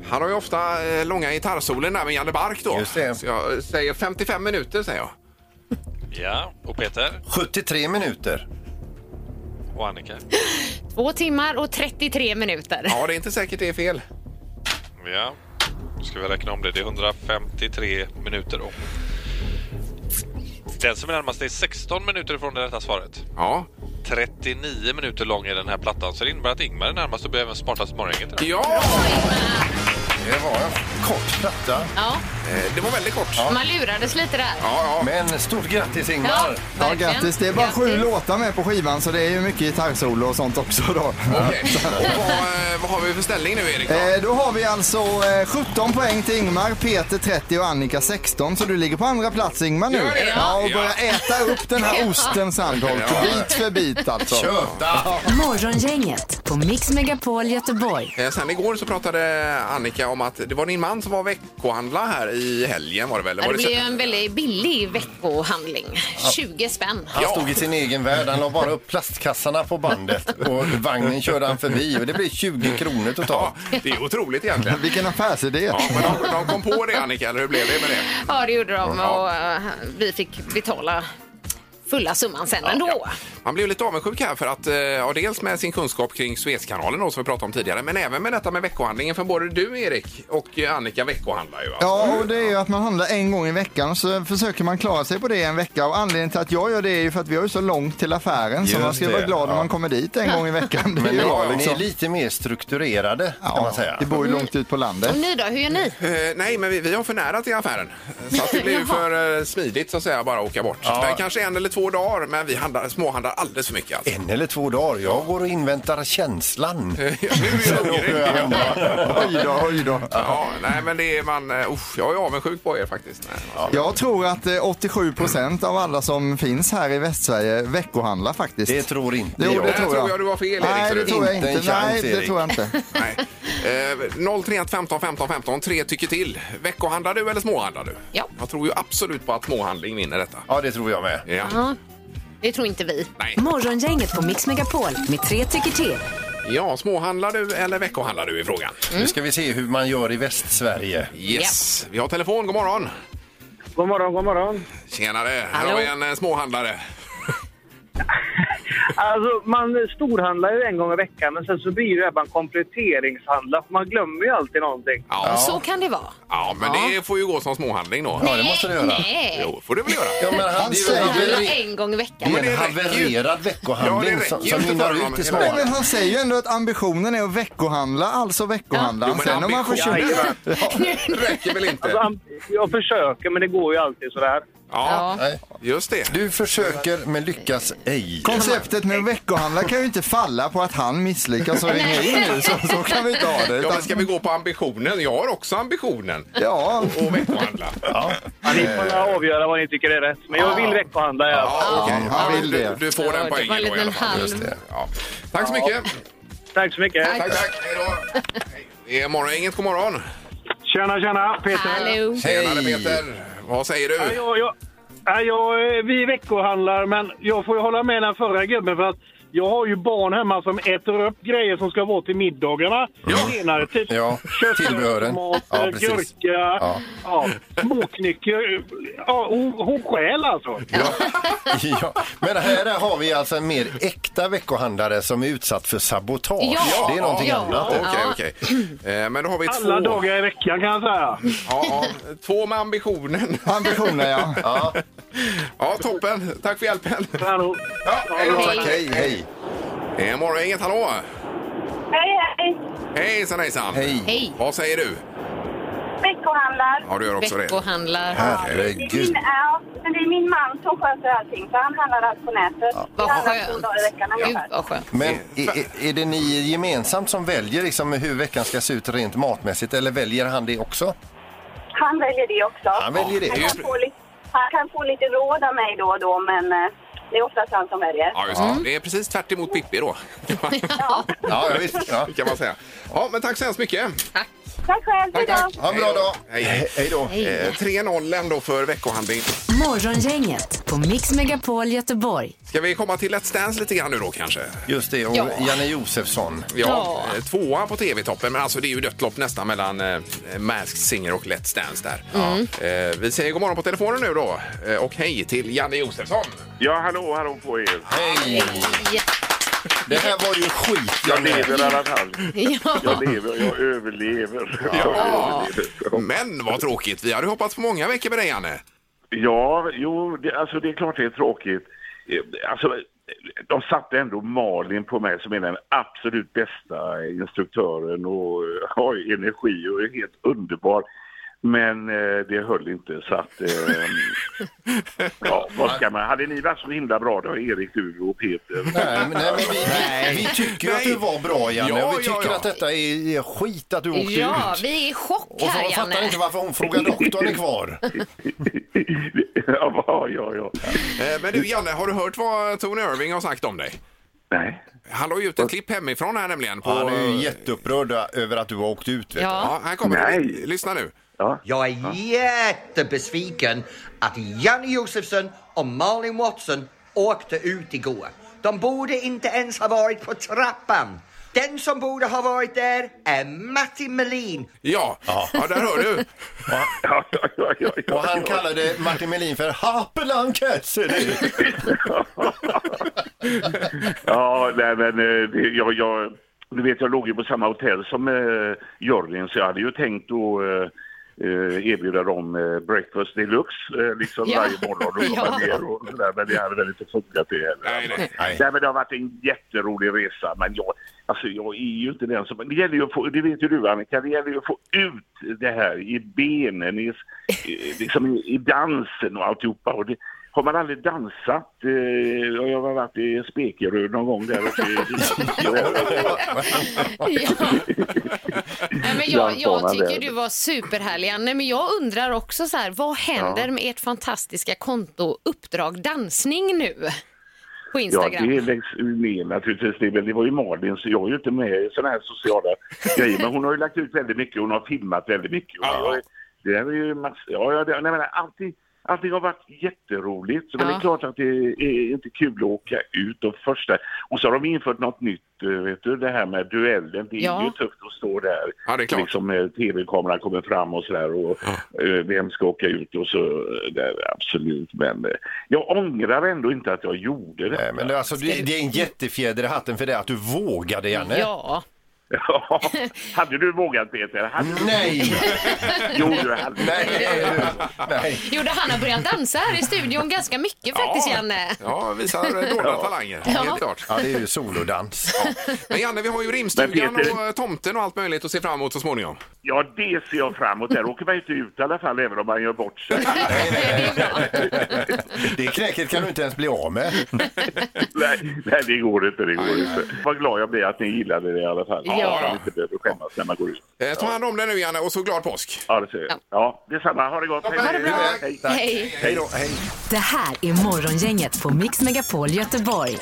[SPEAKER 4] Han har ju ofta eh, långa gitarrsolen där med Janne Bark då.
[SPEAKER 5] Just det.
[SPEAKER 4] Så jag eh, säger 55 minuter säger jag.
[SPEAKER 8] Ja, och Peter
[SPEAKER 5] 73 minuter.
[SPEAKER 8] och Annika.
[SPEAKER 6] Två timmar och 33 minuter.
[SPEAKER 4] Ja, det är inte säkert det är fel.
[SPEAKER 8] Ja, då ska vi räkna om det. Det är 153 minuter då. Den som är närmast är 16 minuter ifrån det rätta svaret.
[SPEAKER 4] Ja.
[SPEAKER 8] 39 minuter lång är den här plattan, så det innebär att Ingmar är närmast och blir även smartast i morgongänget. idag.
[SPEAKER 4] Ja!
[SPEAKER 5] Det var en kort platta.
[SPEAKER 6] Ja,
[SPEAKER 4] Eh, Det var väldigt kort. Ja,
[SPEAKER 6] man lurades lite där.
[SPEAKER 4] ja.
[SPEAKER 5] Men stort grattis Ingmar!
[SPEAKER 7] Ja,
[SPEAKER 6] verkligen.
[SPEAKER 7] grattis. Det är bara sju
[SPEAKER 6] Grattis.
[SPEAKER 7] låtar med på skivan så det är ju mycket gitarrsolo och sånt också då.
[SPEAKER 4] Okej. Och vad, eh, vad har vi för ställning nu, Erik?
[SPEAKER 7] Eh, Då har vi alltså eh, 17 poäng till Ingmar, Peter 30 och Annika 16. Så du ligger på andra plats Ingmar nu.
[SPEAKER 4] Gör det?
[SPEAKER 7] Ja, och
[SPEAKER 4] Ja.
[SPEAKER 7] börjar äta upp den här osten Sandholt,
[SPEAKER 4] Ja.
[SPEAKER 7] bit för bit alltså.
[SPEAKER 5] Köta!
[SPEAKER 3] Morgongänget på Mix Megapol Göteborg.
[SPEAKER 4] Eh, Sen igår så pratade Annika om att det var din man som var veckohandla här i helgen var det väl?
[SPEAKER 6] Ja,
[SPEAKER 4] Var
[SPEAKER 6] det blev ju
[SPEAKER 4] sö-
[SPEAKER 6] en väldigt billig veckohandling. 20 spänn.
[SPEAKER 5] Han stod i sin egen värld. Han la bara upp plastkassarna på bandet och vagnen körde han förbi och det blev 20 kronor totalt.
[SPEAKER 4] Ja, det är otroligt egentligen.
[SPEAKER 7] Vilken affärsidé.
[SPEAKER 4] Ja, men de, de kom på det Annika, eller hur blev det med det?
[SPEAKER 6] Ja, det gjorde de och eh, vi fick betala fulla summan sen ändå.
[SPEAKER 4] Man blev lite avundsjuk här för att, eh, ja, dels med sin kunskap kring Suezkanalen då, som vi pratade om tidigare, men även med detta med veckohandlingen för både du Erik och eh, Annika veckohandlar ju. va?
[SPEAKER 7] Ja, och det är ju att man handlar en gång i veckan och så försöker man klara sig på det en vecka. Och anledningen till att jag gör det är ju för att vi har ju så långt till affären så
[SPEAKER 5] Just
[SPEAKER 7] man ska ju
[SPEAKER 5] det,
[SPEAKER 7] vara glad när
[SPEAKER 5] ja.
[SPEAKER 7] man kommer dit en gång i veckan. Det är
[SPEAKER 5] Men
[SPEAKER 7] ju
[SPEAKER 5] ni,
[SPEAKER 7] bra,
[SPEAKER 5] ni
[SPEAKER 7] liksom.
[SPEAKER 5] är lite mer strukturerade kan man säga.
[SPEAKER 7] Det bor ju långt ut på landet.
[SPEAKER 6] Och ni då, hur gör ni?
[SPEAKER 4] Eh, nej, men vi, vi har för nära till affären. Så att
[SPEAKER 6] (laughs)
[SPEAKER 4] det blir ju för eh, smidigt så att säga, bara åka bort. Men kanske en eller två dagar, men vi handlar, småhandlar alldeles för mycket. Alltså.
[SPEAKER 5] En eller två dagar. Jag går och inväntar känslan.
[SPEAKER 4] Ja, (laughs) nu är jag hungrig.
[SPEAKER 7] Oj då, oj då.
[SPEAKER 4] Ja, nej, men det är man... eh, Usch, jag är avundsjuk på er faktiskt. Nej, ja.
[SPEAKER 7] Jag tror att eh, 87 procent av alla som finns här i Västsverige veckohandlar faktiskt.
[SPEAKER 5] Det tror inte
[SPEAKER 7] Jo,
[SPEAKER 5] jag.
[SPEAKER 7] det
[SPEAKER 4] Där tror jag du har fel, Erik,
[SPEAKER 7] Nej,
[SPEAKER 4] så
[SPEAKER 7] det
[SPEAKER 4] du-
[SPEAKER 7] tror jag
[SPEAKER 5] Inte
[SPEAKER 7] inte.
[SPEAKER 5] en
[SPEAKER 7] Nej,
[SPEAKER 5] chans,
[SPEAKER 7] det
[SPEAKER 5] Erik.
[SPEAKER 7] tror jag inte.
[SPEAKER 4] nej. Eh, 031 15 15 15, tre tycker till. Veckohandlar du eller småhandlar du?
[SPEAKER 6] Ja.
[SPEAKER 4] Jag tror ju absolut på att småhandling vinner detta.
[SPEAKER 5] Ja, det tror jag med.
[SPEAKER 4] Ja.
[SPEAKER 6] Ja, det tror inte vi.
[SPEAKER 4] Nej.
[SPEAKER 3] Morgongänget på Mix Megapol med tre tycker till.
[SPEAKER 4] ja, småhandlar du eller veckohandlar du i frågan?
[SPEAKER 6] Mm,
[SPEAKER 5] Nu ska vi se hur man gör i Västsverige.
[SPEAKER 4] Yes. Vi har telefon, god morgon.
[SPEAKER 2] God morgon, god morgon.
[SPEAKER 4] Tjenare, här
[SPEAKER 6] Hallå.
[SPEAKER 4] har vi en eh, småhandlare.
[SPEAKER 2] Alltså, man storhandlar ju en gång i veckan, men sen så blir det bara en kompletteringshandlar, för man glömmer ju alltid någonting.
[SPEAKER 4] Ja,
[SPEAKER 6] Så kan det vara.
[SPEAKER 4] ja men det får ju gå som småhandling då.
[SPEAKER 5] Ja, det måste du göra.
[SPEAKER 6] Nej,
[SPEAKER 4] Jo, får du väl göra.
[SPEAKER 5] Ja, men han,
[SPEAKER 7] Han
[SPEAKER 5] det är
[SPEAKER 7] säger
[SPEAKER 5] ju en
[SPEAKER 6] handla
[SPEAKER 5] haveri-
[SPEAKER 6] en gång i
[SPEAKER 5] det
[SPEAKER 6] veckan.
[SPEAKER 5] är en
[SPEAKER 4] Ja, men det räcker ju.
[SPEAKER 5] havererad
[SPEAKER 4] Ja,
[SPEAKER 5] veckohandling
[SPEAKER 4] det
[SPEAKER 5] som,
[SPEAKER 4] räcker
[SPEAKER 5] som
[SPEAKER 4] ju inte för
[SPEAKER 5] mynnar
[SPEAKER 4] honom
[SPEAKER 5] ut i
[SPEAKER 7] Nej,
[SPEAKER 4] hela
[SPEAKER 5] småhandel.
[SPEAKER 7] men han säger ju ändå att ambitionen är att veckohandla, alltså veckohandlar
[SPEAKER 4] Jo,
[SPEAKER 7] han.
[SPEAKER 4] men
[SPEAKER 7] Sen om man får
[SPEAKER 4] ambition-
[SPEAKER 7] 20...
[SPEAKER 4] (laughs) Ja, räcker väl inte?
[SPEAKER 2] Alltså, am- jag försöker, men det går ju alltid sådär.
[SPEAKER 4] Ja,
[SPEAKER 6] Ja.
[SPEAKER 5] Nej.
[SPEAKER 4] just det.
[SPEAKER 5] Du försöker men lyckas ej.
[SPEAKER 7] Konceptet med veckohandlar kan ju inte falla på att han misslyckas och ringer in nu. Så, så kan vi inte ha det.
[SPEAKER 4] Ja,
[SPEAKER 7] Utan,
[SPEAKER 4] men ska vi gå på ambitionen? Jag har också ambitionen
[SPEAKER 7] ja,
[SPEAKER 4] att veckohandla. Ja,
[SPEAKER 2] Ja, ni får avgöra vad ni tycker är rätt, men jag vill veckohandla. Eh. Ja.
[SPEAKER 4] okej.
[SPEAKER 7] han vill
[SPEAKER 4] du,
[SPEAKER 7] det.
[SPEAKER 4] du får den
[SPEAKER 6] det var
[SPEAKER 4] poängen
[SPEAKER 6] en
[SPEAKER 4] då i alla
[SPEAKER 6] liten
[SPEAKER 4] fall.
[SPEAKER 6] halv.
[SPEAKER 4] Just det. Ja. Tack så mycket.
[SPEAKER 2] Tack så mycket.
[SPEAKER 4] Tack, tack. Hej då. Hej. Det är morgongänget. God morgon.
[SPEAKER 2] Tjena, tjena, Peter.
[SPEAKER 6] Hallå.
[SPEAKER 4] Tjenare Peter. Vad säger
[SPEAKER 2] Ja,
[SPEAKER 4] du?
[SPEAKER 2] jag, jag, ja, jag, eh, vi veckohandlar, men jag får ju hålla med den förra gubben för att jag har ju barn hemma som äter upp grejer som ska vara till middagarna senare. Typ
[SPEAKER 5] Ja,
[SPEAKER 4] (laughs)
[SPEAKER 5] tillbehören.
[SPEAKER 2] tomat,
[SPEAKER 5] Ja,
[SPEAKER 2] eh,
[SPEAKER 5] precis.
[SPEAKER 2] gurka, ja. småknycker. Ja, hon, hon stjäl alltså.
[SPEAKER 5] Ja. Men här har vi alltså en mer äkta veckohandlare som är utsatt för sabotage.
[SPEAKER 6] Ja.
[SPEAKER 5] Det är någonting
[SPEAKER 6] Ja.
[SPEAKER 5] annat.
[SPEAKER 4] Okej, okej. Eh, Men då har vi två,
[SPEAKER 2] Alla dagar i veckan kan jag säga.
[SPEAKER 4] Ja, ja, två med ambitionen.
[SPEAKER 7] ambitioner ja.
[SPEAKER 5] Ja.
[SPEAKER 4] Ja, toppen. Tack för hjälpen.
[SPEAKER 2] Kanon.
[SPEAKER 4] Ja, hej då.
[SPEAKER 5] Tack, hej, hej.
[SPEAKER 4] Det är morgongänget. Hallå!
[SPEAKER 10] Hej, hej!
[SPEAKER 4] Hejsan, hejsan.
[SPEAKER 5] Hej.
[SPEAKER 6] Hej,
[SPEAKER 4] Vad säger du?
[SPEAKER 10] Veckohandlar.
[SPEAKER 4] Ja, du gör också det.
[SPEAKER 6] veckohandlar.
[SPEAKER 10] Det är,
[SPEAKER 5] Herregud.
[SPEAKER 10] min, ja, men det är min man som sköter allting, så han handlar allt på nätet. Vi
[SPEAKER 6] Vad
[SPEAKER 10] handlar två
[SPEAKER 6] skönt.
[SPEAKER 10] dagar i veckan
[SPEAKER 6] Gud,
[SPEAKER 10] ungefär.
[SPEAKER 6] vad skönt.
[SPEAKER 5] Men är, är- är det ni gemensamt som väljer liksom hur veckan ska se ut rent matmässigt eller väljer han det också?
[SPEAKER 10] Han väljer det också.
[SPEAKER 5] Han väljer det.
[SPEAKER 10] Han kan, få lite, han kan få lite råd av mig då och då, men eh, det är oftast han som väljer.
[SPEAKER 4] Ja, just det. det är precis tvärt emot Pippi då.
[SPEAKER 5] Mm. (laughs) Ja, ja, visst. Ja.
[SPEAKER 4] kan man säga. Ja, men tack så hemskt mycket.
[SPEAKER 10] Tack själv, hej då!
[SPEAKER 5] Ha en bra dag.
[SPEAKER 4] Hej, hej.
[SPEAKER 5] Hej då.
[SPEAKER 4] Eh, 3-0 ändå för veckohandling.
[SPEAKER 3] Morgongänget på Mix Megapol Göteborg.
[SPEAKER 4] Ska vi komma till Let's Dance lite grann nu då kanske?
[SPEAKER 5] Just det, och
[SPEAKER 6] Ja.
[SPEAKER 5] Janne Josefsson.
[SPEAKER 4] Ja,
[SPEAKER 6] Ja.
[SPEAKER 4] eh, tvåa på TV-toppen, men alltså det är ju dött lopp nästan mellan eh, Masked Singer och Let's Dance där.
[SPEAKER 5] Mm.
[SPEAKER 4] Eh, vi säger god morgon på telefonen nu då eh, och hej till Janne Josefsson.
[SPEAKER 1] Ja, hallå, hallå på er.
[SPEAKER 5] Hej! Det här var ju skit,
[SPEAKER 1] Jag
[SPEAKER 5] Janne.
[SPEAKER 1] lever i alla fall.
[SPEAKER 6] Ja.
[SPEAKER 1] Jag lever, jag överlever. Jag överlever.
[SPEAKER 4] Men vad tråkigt, vi hade hoppats på många veckor med dig Janne.
[SPEAKER 1] Ja, jo, det, alltså det är klart det är tråkigt. Eh, Alltså, de satte ändå Malin på mig som är den absolut bästa instruktören och eh, har energi och är helt underbar. Men eh, det höll inte så att...
[SPEAKER 5] (laughs)
[SPEAKER 1] Eh, ja, vad ska man... Hade ni varit så himla bra, då Erik, du och Peter. (laughs)
[SPEAKER 5] Nej, men, nej, men vi, vi, vi tycker ju att
[SPEAKER 4] Nej.
[SPEAKER 5] du var bra, Janne.
[SPEAKER 4] Ja,
[SPEAKER 5] och vi
[SPEAKER 4] ja,
[SPEAKER 5] tycker
[SPEAKER 4] ja.
[SPEAKER 5] att detta är, är skit att du åkte
[SPEAKER 6] ja,
[SPEAKER 5] ut.
[SPEAKER 6] vi är i chock
[SPEAKER 5] Och
[SPEAKER 6] här,
[SPEAKER 5] jag fattar
[SPEAKER 6] Janne.
[SPEAKER 5] inte varför hon frågar doktorn är kvar.
[SPEAKER 1] ja, ja, ja.
[SPEAKER 4] Eh,
[SPEAKER 5] Mm.
[SPEAKER 4] men du Janne, har du hört vad Tony Irving har sagt om dig?
[SPEAKER 1] Nej.
[SPEAKER 4] Han la ju ut ett klipp hemifrån här nämligen. På,
[SPEAKER 5] Han är ju jätteupprörd över att du har åkt ut. Vet
[SPEAKER 6] Ja.
[SPEAKER 4] Ja, här kommer det.
[SPEAKER 1] Nej.
[SPEAKER 4] Lyssna nu.
[SPEAKER 11] Jag är jättebesviken att Janne Josefsson och Malin Watson åkte ut igår. De borde inte ens ha varit på trappan. Den som borde ha varit där är Matti Melin.
[SPEAKER 4] Ja, ja. där hör du.
[SPEAKER 1] Ja, ja, ja, ja,
[SPEAKER 5] du.
[SPEAKER 1] ja,
[SPEAKER 5] Och han
[SPEAKER 1] ja.
[SPEAKER 5] kallade Martin Melin för Happeland Cassidy.
[SPEAKER 1] ja, nej men eh, det, jag, jag, du vet jag låg ju på samma hotell som eh, juryn så jag hade ju tänkt att eh, eh, erbjuda dem eh, breakfast deluxe eh, liksom
[SPEAKER 6] Ja.
[SPEAKER 1] varje morgon och komma
[SPEAKER 6] (laughs) Ja.
[SPEAKER 1] ner och sådär men det hade väl inte funkat det heller.
[SPEAKER 4] Nej, nej.
[SPEAKER 1] Nej. men det har varit en jätterolig resa men jag, alltså jag är ju inte den som, men det gäller ju att få, det vet ju du Annika, det gäller ju att få ut det här i benen, i, i- liksom i, i dansen och alltihopa. Och det, har man aldrig dansat, eh, och jag har varit i Spekeröd någon gång där uppe i (laughs)
[SPEAKER 6] Ja. Nej, men jag, jag
[SPEAKER 1] Dansbanan
[SPEAKER 6] tycker
[SPEAKER 1] där.
[SPEAKER 6] du var superhärlig, Janne. Men jag undrar också så här, vad händer med ert fantastiska konto Uppdrag dansning nu? På
[SPEAKER 1] Ja,
[SPEAKER 6] Instagram.
[SPEAKER 1] det läggs ju ner naturligtvis. Det, är väl- det var ju Malin, så jag är ju inte med i sådana här sociala grejer. Men hon har ju lagt ut väldigt mycket, hon har filmat väldigt mycket. Och
[SPEAKER 4] Ja.
[SPEAKER 1] jag är- det där är ju massor. Ja, ja, det, nej, men allting, allting har varit jätteroligt. Så Men det
[SPEAKER 6] Ja.
[SPEAKER 1] är klart att det är inte kul att åka ut och första... Och så har de infört något nytt, eh, vet du, det här med duellen. Det är
[SPEAKER 6] Ja.
[SPEAKER 1] ju tufft att stå där.
[SPEAKER 4] Ja, det är klart.
[SPEAKER 1] Liksom eh, tv-kameran kommer fram och sådär och eh, vem ska åka ut och så eh, där, absolut. Men eh, jag ångrar ändå inte att jag gjorde det.
[SPEAKER 5] Nej, men det, alltså, det, det är en jättefjäder i hatten för det att du vågade, Janne.
[SPEAKER 6] Ja.
[SPEAKER 1] Ja, hade du vågat Peter? Hade du...
[SPEAKER 5] (laughs) Nej!
[SPEAKER 1] Jo, du hade.
[SPEAKER 5] Nej! Nej.
[SPEAKER 6] Gjorde han har börjat dansa här i studion ganska mycket faktiskt, Janne.
[SPEAKER 4] Ja, visar dolda talanger. Helt klart.
[SPEAKER 5] Ja, det är ju solodans.
[SPEAKER 4] Men Janne, vi har ju
[SPEAKER 1] Men
[SPEAKER 4] rimstugan och eh, tomten och allt möjligt att se fram emot så småningom.
[SPEAKER 1] Ja, det ser jag fram emot. Där åker man ju inte ut i alla fall, även om man gör bort sig.
[SPEAKER 5] Det knäcket kan du inte ens bli av med.
[SPEAKER 1] nej, nej, det går inte. Det går inte. Vad glad jag blir att ni gillade det i alla fall.
[SPEAKER 6] Ja.
[SPEAKER 1] Att man inte behöver skämmas när man går ut.
[SPEAKER 4] Eh, ta hand om det nu Janne och så glad påsk!
[SPEAKER 1] Ja, det ser jag. Ja, detsamma. Ha det gott.
[SPEAKER 5] Ha det bra.
[SPEAKER 1] Hej.
[SPEAKER 6] Hej.
[SPEAKER 5] Hej då. Hej.
[SPEAKER 3] Det här är Morgongänget på Mix Megapol Göteborg.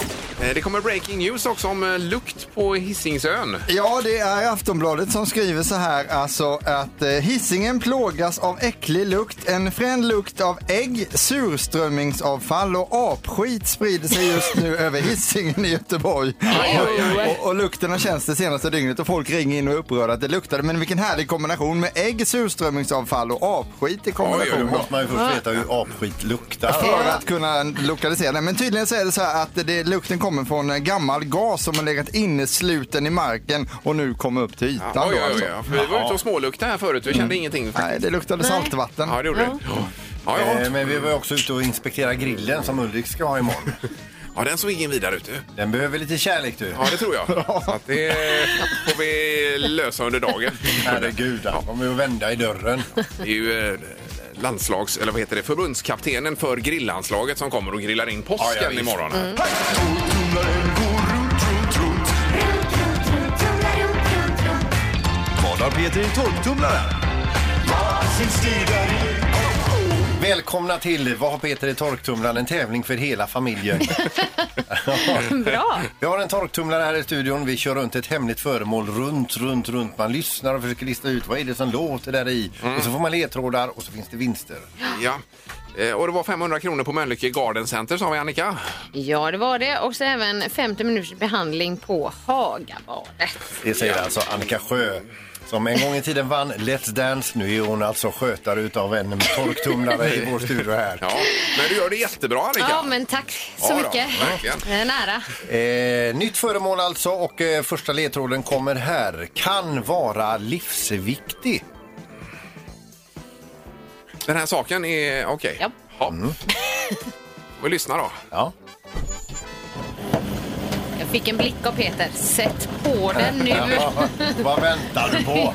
[SPEAKER 4] Eh, det kommer breaking news också om eh, lukt på Hisingsön.
[SPEAKER 7] Ja, det är Aftonbladet som skriver så här alltså att eh, hissingen plågas av äcklig lukt. En frän lukt av ägg, surströmmingsavfall och apskit sprider sig just nu
[SPEAKER 4] (laughs)
[SPEAKER 7] över hissingen i Göteborg. Och, och, och lukten har känts det senaste dygnet och folk ringer in och är upprörda att det luktade. Men vilken härlig kombination med ägg, surströmmingsavfall och apskit i
[SPEAKER 4] Oj,
[SPEAKER 7] kombination.
[SPEAKER 4] oj,
[SPEAKER 5] Då måste man ju först veta hur apskit luktar.
[SPEAKER 7] För att kunna lokalisera den. Men tydligen så är det så här att det, lukten kommer från en gammal gas som har legat innesluten i marken och nu kommer upp till ytan.
[SPEAKER 4] Oj,
[SPEAKER 7] då,
[SPEAKER 4] oj,
[SPEAKER 7] alltså.
[SPEAKER 4] oj. För vi var ute och småluktade här förut, vi kände ingenting.
[SPEAKER 7] Nej, det luktade saltvatten.
[SPEAKER 4] Ja, det gjorde det. Ja, ja.
[SPEAKER 5] Eh, Men vi var ju också ute och inspekterade grillen som Ulrik ska ha imorgon.
[SPEAKER 4] ja, den såg ingen vidare ut. du.
[SPEAKER 5] Den behöver lite kärlek du.
[SPEAKER 4] Ja, det tror jag. Så att det får vi lösa under dagen.
[SPEAKER 5] (laughs) Herregud, han kommer ju att vända i dörren.
[SPEAKER 4] Det är ju eh, landslags, eller vad heter det, förbundskaptenen för grillanslaget som kommer och grillar in påsken
[SPEAKER 5] Ja, ja, visst.
[SPEAKER 4] imorgon. här.
[SPEAKER 9] Vad har Peter i tolvtumlaren?
[SPEAKER 5] Välkomna till Vad har Peter i torktumlaren? En tävling för hela (laughs) familjen.
[SPEAKER 6] Bra.
[SPEAKER 5] Vi har en torktumlare här i studion. Vi kör runt ett hemligt föremål runt, runt, runt. Man lyssnar och försöker lista ut vad är det som låter där i. Och så får man ledtrådar och så finns det vinster.
[SPEAKER 4] Ja. Eh, Och det var 500 kronor på Mölnlycke Garden Center sa vi Annika.
[SPEAKER 6] Ja, det var det. Och så även 50 minuters behandling på Hagabadet.
[SPEAKER 5] Det säger alltså Annika Sjö. Som en gång i tiden vann Let's Dance. Nu är hon alltså skötare utav en torktumlare i vår studio här.
[SPEAKER 4] Ja, men du gör det jättebra Annika.
[SPEAKER 6] Ja, men tack så
[SPEAKER 4] Ja då,
[SPEAKER 6] mycket.
[SPEAKER 4] verkligen.
[SPEAKER 6] Det är nära.
[SPEAKER 5] Eh, nytt föremål alltså och eh, första ledtråden kommer här. Kan vara livsviktig.
[SPEAKER 4] Den här saken är okej.
[SPEAKER 6] Ja.
[SPEAKER 4] Ja. Vi lyssnar då.
[SPEAKER 5] Ja.
[SPEAKER 6] Jag fick en blick av Peter. Sätt på den nu.
[SPEAKER 5] Ja, vad väntar du på?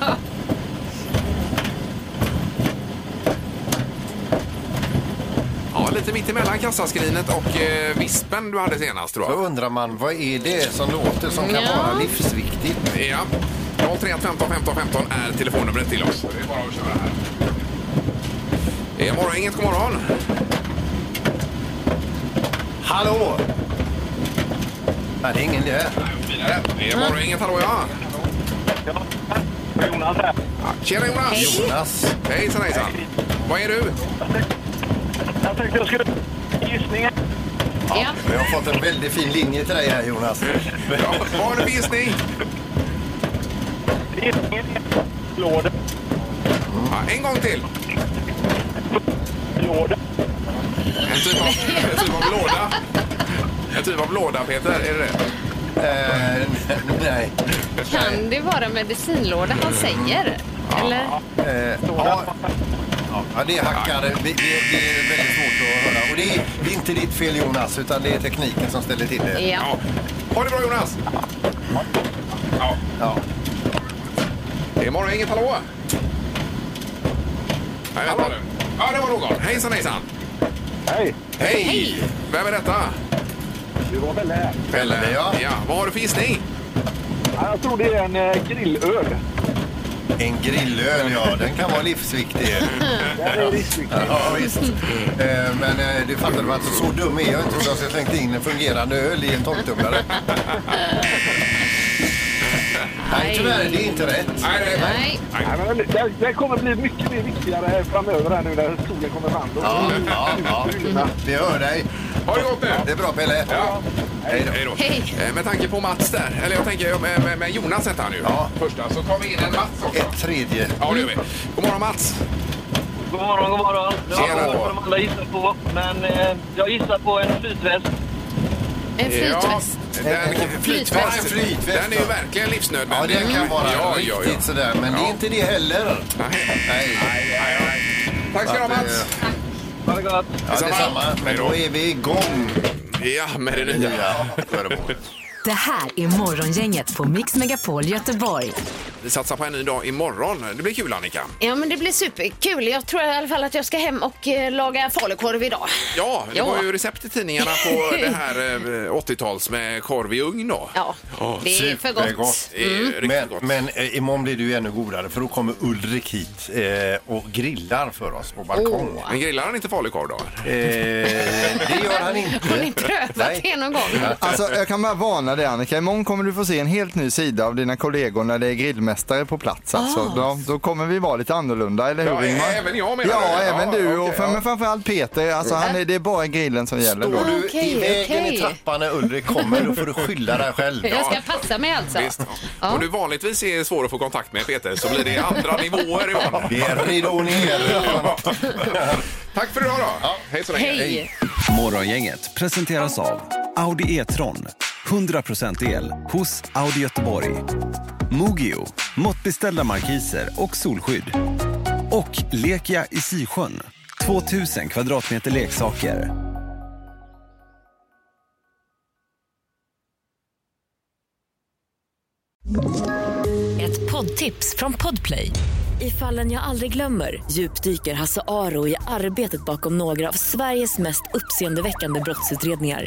[SPEAKER 4] Ja, lite mitt emellan kassaskrinet och eh, vispen du hade senast tror
[SPEAKER 5] Då
[SPEAKER 4] jag.
[SPEAKER 5] undrar man, vad är det som låter som kan
[SPEAKER 6] Ja.
[SPEAKER 5] vara livsviktigt?
[SPEAKER 4] Ja. 031 15 15 15 är telefonnumret till oss. Det är bara att köra här. Eh, morgon, inget god morgon.
[SPEAKER 5] Hallå! Nej, det är ingen där.
[SPEAKER 4] Det är morgon, inget hallå ja.
[SPEAKER 2] Jonas här.
[SPEAKER 4] Ja, Tjena Jonas!
[SPEAKER 6] Hej.
[SPEAKER 5] Jonas.
[SPEAKER 4] Hejsan hejsan! Vad är du?
[SPEAKER 2] Jag tänkte jag skulle... Gissningen.
[SPEAKER 6] Ja.
[SPEAKER 5] Vi har fått en väldigt fin linje till dig här Jonas.
[SPEAKER 4] Ja, vad har du för gissning?
[SPEAKER 2] Gissningen låda.
[SPEAKER 4] Ja, en gång till.
[SPEAKER 2] låda.
[SPEAKER 4] En typ av, en typ av låda. En typ av låda Peter, är det det?
[SPEAKER 5] Eh, (laughs) nej.
[SPEAKER 6] Kan det vara medicinlåda han säger? Eller?
[SPEAKER 5] Eh, ja. ja, det hackar. Det, det, det är väldigt svårt att höra. Och det är, det är inte ditt fel Jonas, utan det är tekniken som ställer till det.
[SPEAKER 6] Ja.
[SPEAKER 4] Ja. Ha det bra Jonas! Ja.
[SPEAKER 5] Ja.
[SPEAKER 4] Det är morgon, inget hallå? Nej, vänta nu. Ja, det var någon. Hejsan hejsan!
[SPEAKER 2] Hej.
[SPEAKER 4] Hej! Vem är detta?
[SPEAKER 2] Det var väl här.
[SPEAKER 4] Pelle,
[SPEAKER 5] ja.
[SPEAKER 4] ja. Vad har du för gissning?
[SPEAKER 2] Jag tror det är en eh, grillöl.
[SPEAKER 5] En grillöl, ja. Den kan vara
[SPEAKER 4] (laughs)
[SPEAKER 5] livsviktig.
[SPEAKER 2] Det här är riskigt.
[SPEAKER 5] Ja, visst. Eh, Men eh, det fattar man inte. Så dum är jag inte så jag slängde in en fungerande öl i en torktumlare. Nej, tyvärr. Det är inte rätt.
[SPEAKER 4] Nej, nej.
[SPEAKER 6] Nej.
[SPEAKER 2] Nej, men det, det kommer bli mycket mer viktigare här framöver här nu när solen kommer fram. Då-
[SPEAKER 5] Ja, ja, ja. Vi hör dig.
[SPEAKER 4] Ha det gott nu!
[SPEAKER 5] Det är bra, Pelle.
[SPEAKER 4] Ja.
[SPEAKER 5] Hej då.
[SPEAKER 4] Hej då.
[SPEAKER 6] Hej.
[SPEAKER 4] Eh, Med tanke på Mats där, eller jag tänker med, med, med Jonas hette han ju.
[SPEAKER 5] Ja.
[SPEAKER 4] Första, så tar vi in en Mats också.
[SPEAKER 5] Ett tredje.
[SPEAKER 4] Ja, det gör vi. God morgon Mats!
[SPEAKER 2] God morgon, god morgon. Jag
[SPEAKER 4] Tjena.
[SPEAKER 2] vet inte vad de andra gissar på, men eh, jag gissar på en flytväst.
[SPEAKER 6] En flytväst.
[SPEAKER 4] Ja, den,
[SPEAKER 6] Flytväst.
[SPEAKER 4] flytväst.
[SPEAKER 5] Flytväst,
[SPEAKER 4] Den är ju
[SPEAKER 5] ja.
[SPEAKER 4] verkligen
[SPEAKER 5] Ja,
[SPEAKER 4] livsnödvändig.
[SPEAKER 5] det kan vara
[SPEAKER 4] Mm. ja,
[SPEAKER 5] riktigt
[SPEAKER 4] ja, ja.
[SPEAKER 5] sådär. Men det är inte det heller.
[SPEAKER 4] Nej.
[SPEAKER 5] Nej.
[SPEAKER 4] Nej, nej. Tack ska du ha Mats!
[SPEAKER 2] Ha det gott.
[SPEAKER 5] Ja, detsamma. Men då är vi igång.
[SPEAKER 4] Ja, med det nya föremålet.
[SPEAKER 3] Det här är Morgongänget på Mix Megapol Göteborg.
[SPEAKER 4] Vi satsar på en ny dag imorgon. Det blir kul Annika.
[SPEAKER 6] Ja, men det blir superkul. Jag tror i alla fall att jag ska hem och eh, laga falukorv idag.
[SPEAKER 4] Ja, det
[SPEAKER 6] Ja.
[SPEAKER 4] var ju recept i tidningarna på det här eh, 80-tals med korv i ugn då.
[SPEAKER 6] Ja, Mm.
[SPEAKER 4] Åh,
[SPEAKER 6] det är för gott.
[SPEAKER 5] supergott.
[SPEAKER 4] Det är riktigt
[SPEAKER 5] Men,
[SPEAKER 4] gott.
[SPEAKER 5] men eh, imorgon blir det ju ännu godare för då kommer Ulrik hit eh, och grillar för oss på balkongen.
[SPEAKER 4] Men grillar han inte falukorv då?
[SPEAKER 5] Eh, det gör han inte.
[SPEAKER 6] Har ni prövat
[SPEAKER 5] Nej.
[SPEAKER 6] det någon gång?
[SPEAKER 7] Alltså, jag kan bara varna dig Annika, imorgon kommer du få se en helt ny sida av dina kollegor när det är grillmästare på plats. Alltså. Då, då kommer vi vara lite annorlunda, eller hur
[SPEAKER 4] Ja,
[SPEAKER 7] Ingmar?
[SPEAKER 4] även jag menar
[SPEAKER 7] Ja,
[SPEAKER 4] det.
[SPEAKER 7] även
[SPEAKER 4] Ja,
[SPEAKER 7] du och
[SPEAKER 4] okej,
[SPEAKER 7] för,
[SPEAKER 4] ja.
[SPEAKER 7] men framförallt Peter. Alltså, han är, det är bara grillen som gäller.
[SPEAKER 5] Står
[SPEAKER 7] Då.
[SPEAKER 5] du
[SPEAKER 6] Okej,
[SPEAKER 5] i vägen
[SPEAKER 6] okej.
[SPEAKER 5] i trappan när Ulrik kommer då får du skylla dig själv.
[SPEAKER 6] Jag ska passa mig alltså.
[SPEAKER 4] Visst.
[SPEAKER 6] Ja.
[SPEAKER 4] Om du vanligtvis är svår att få kontakt med Peter så blir det andra nivåer imorgon.
[SPEAKER 5] Det är ridå ner.
[SPEAKER 4] Tack för idag då. Hej så länge.
[SPEAKER 6] Hej!
[SPEAKER 12] Morgongänget presenteras av Audi E-tron. 100% el hos Audi Göteborg. Mogio, måttbeställda markiser och solskydd. Och Lekia i Sisjön, 2000 kvadratmeter leksaker.
[SPEAKER 13] Ett poddtips från Podplay. I fallen jag aldrig glömmer djupdyker Hasse Aro i arbetet bakom några av Sveriges mest uppseendeväckande brottsutredningar.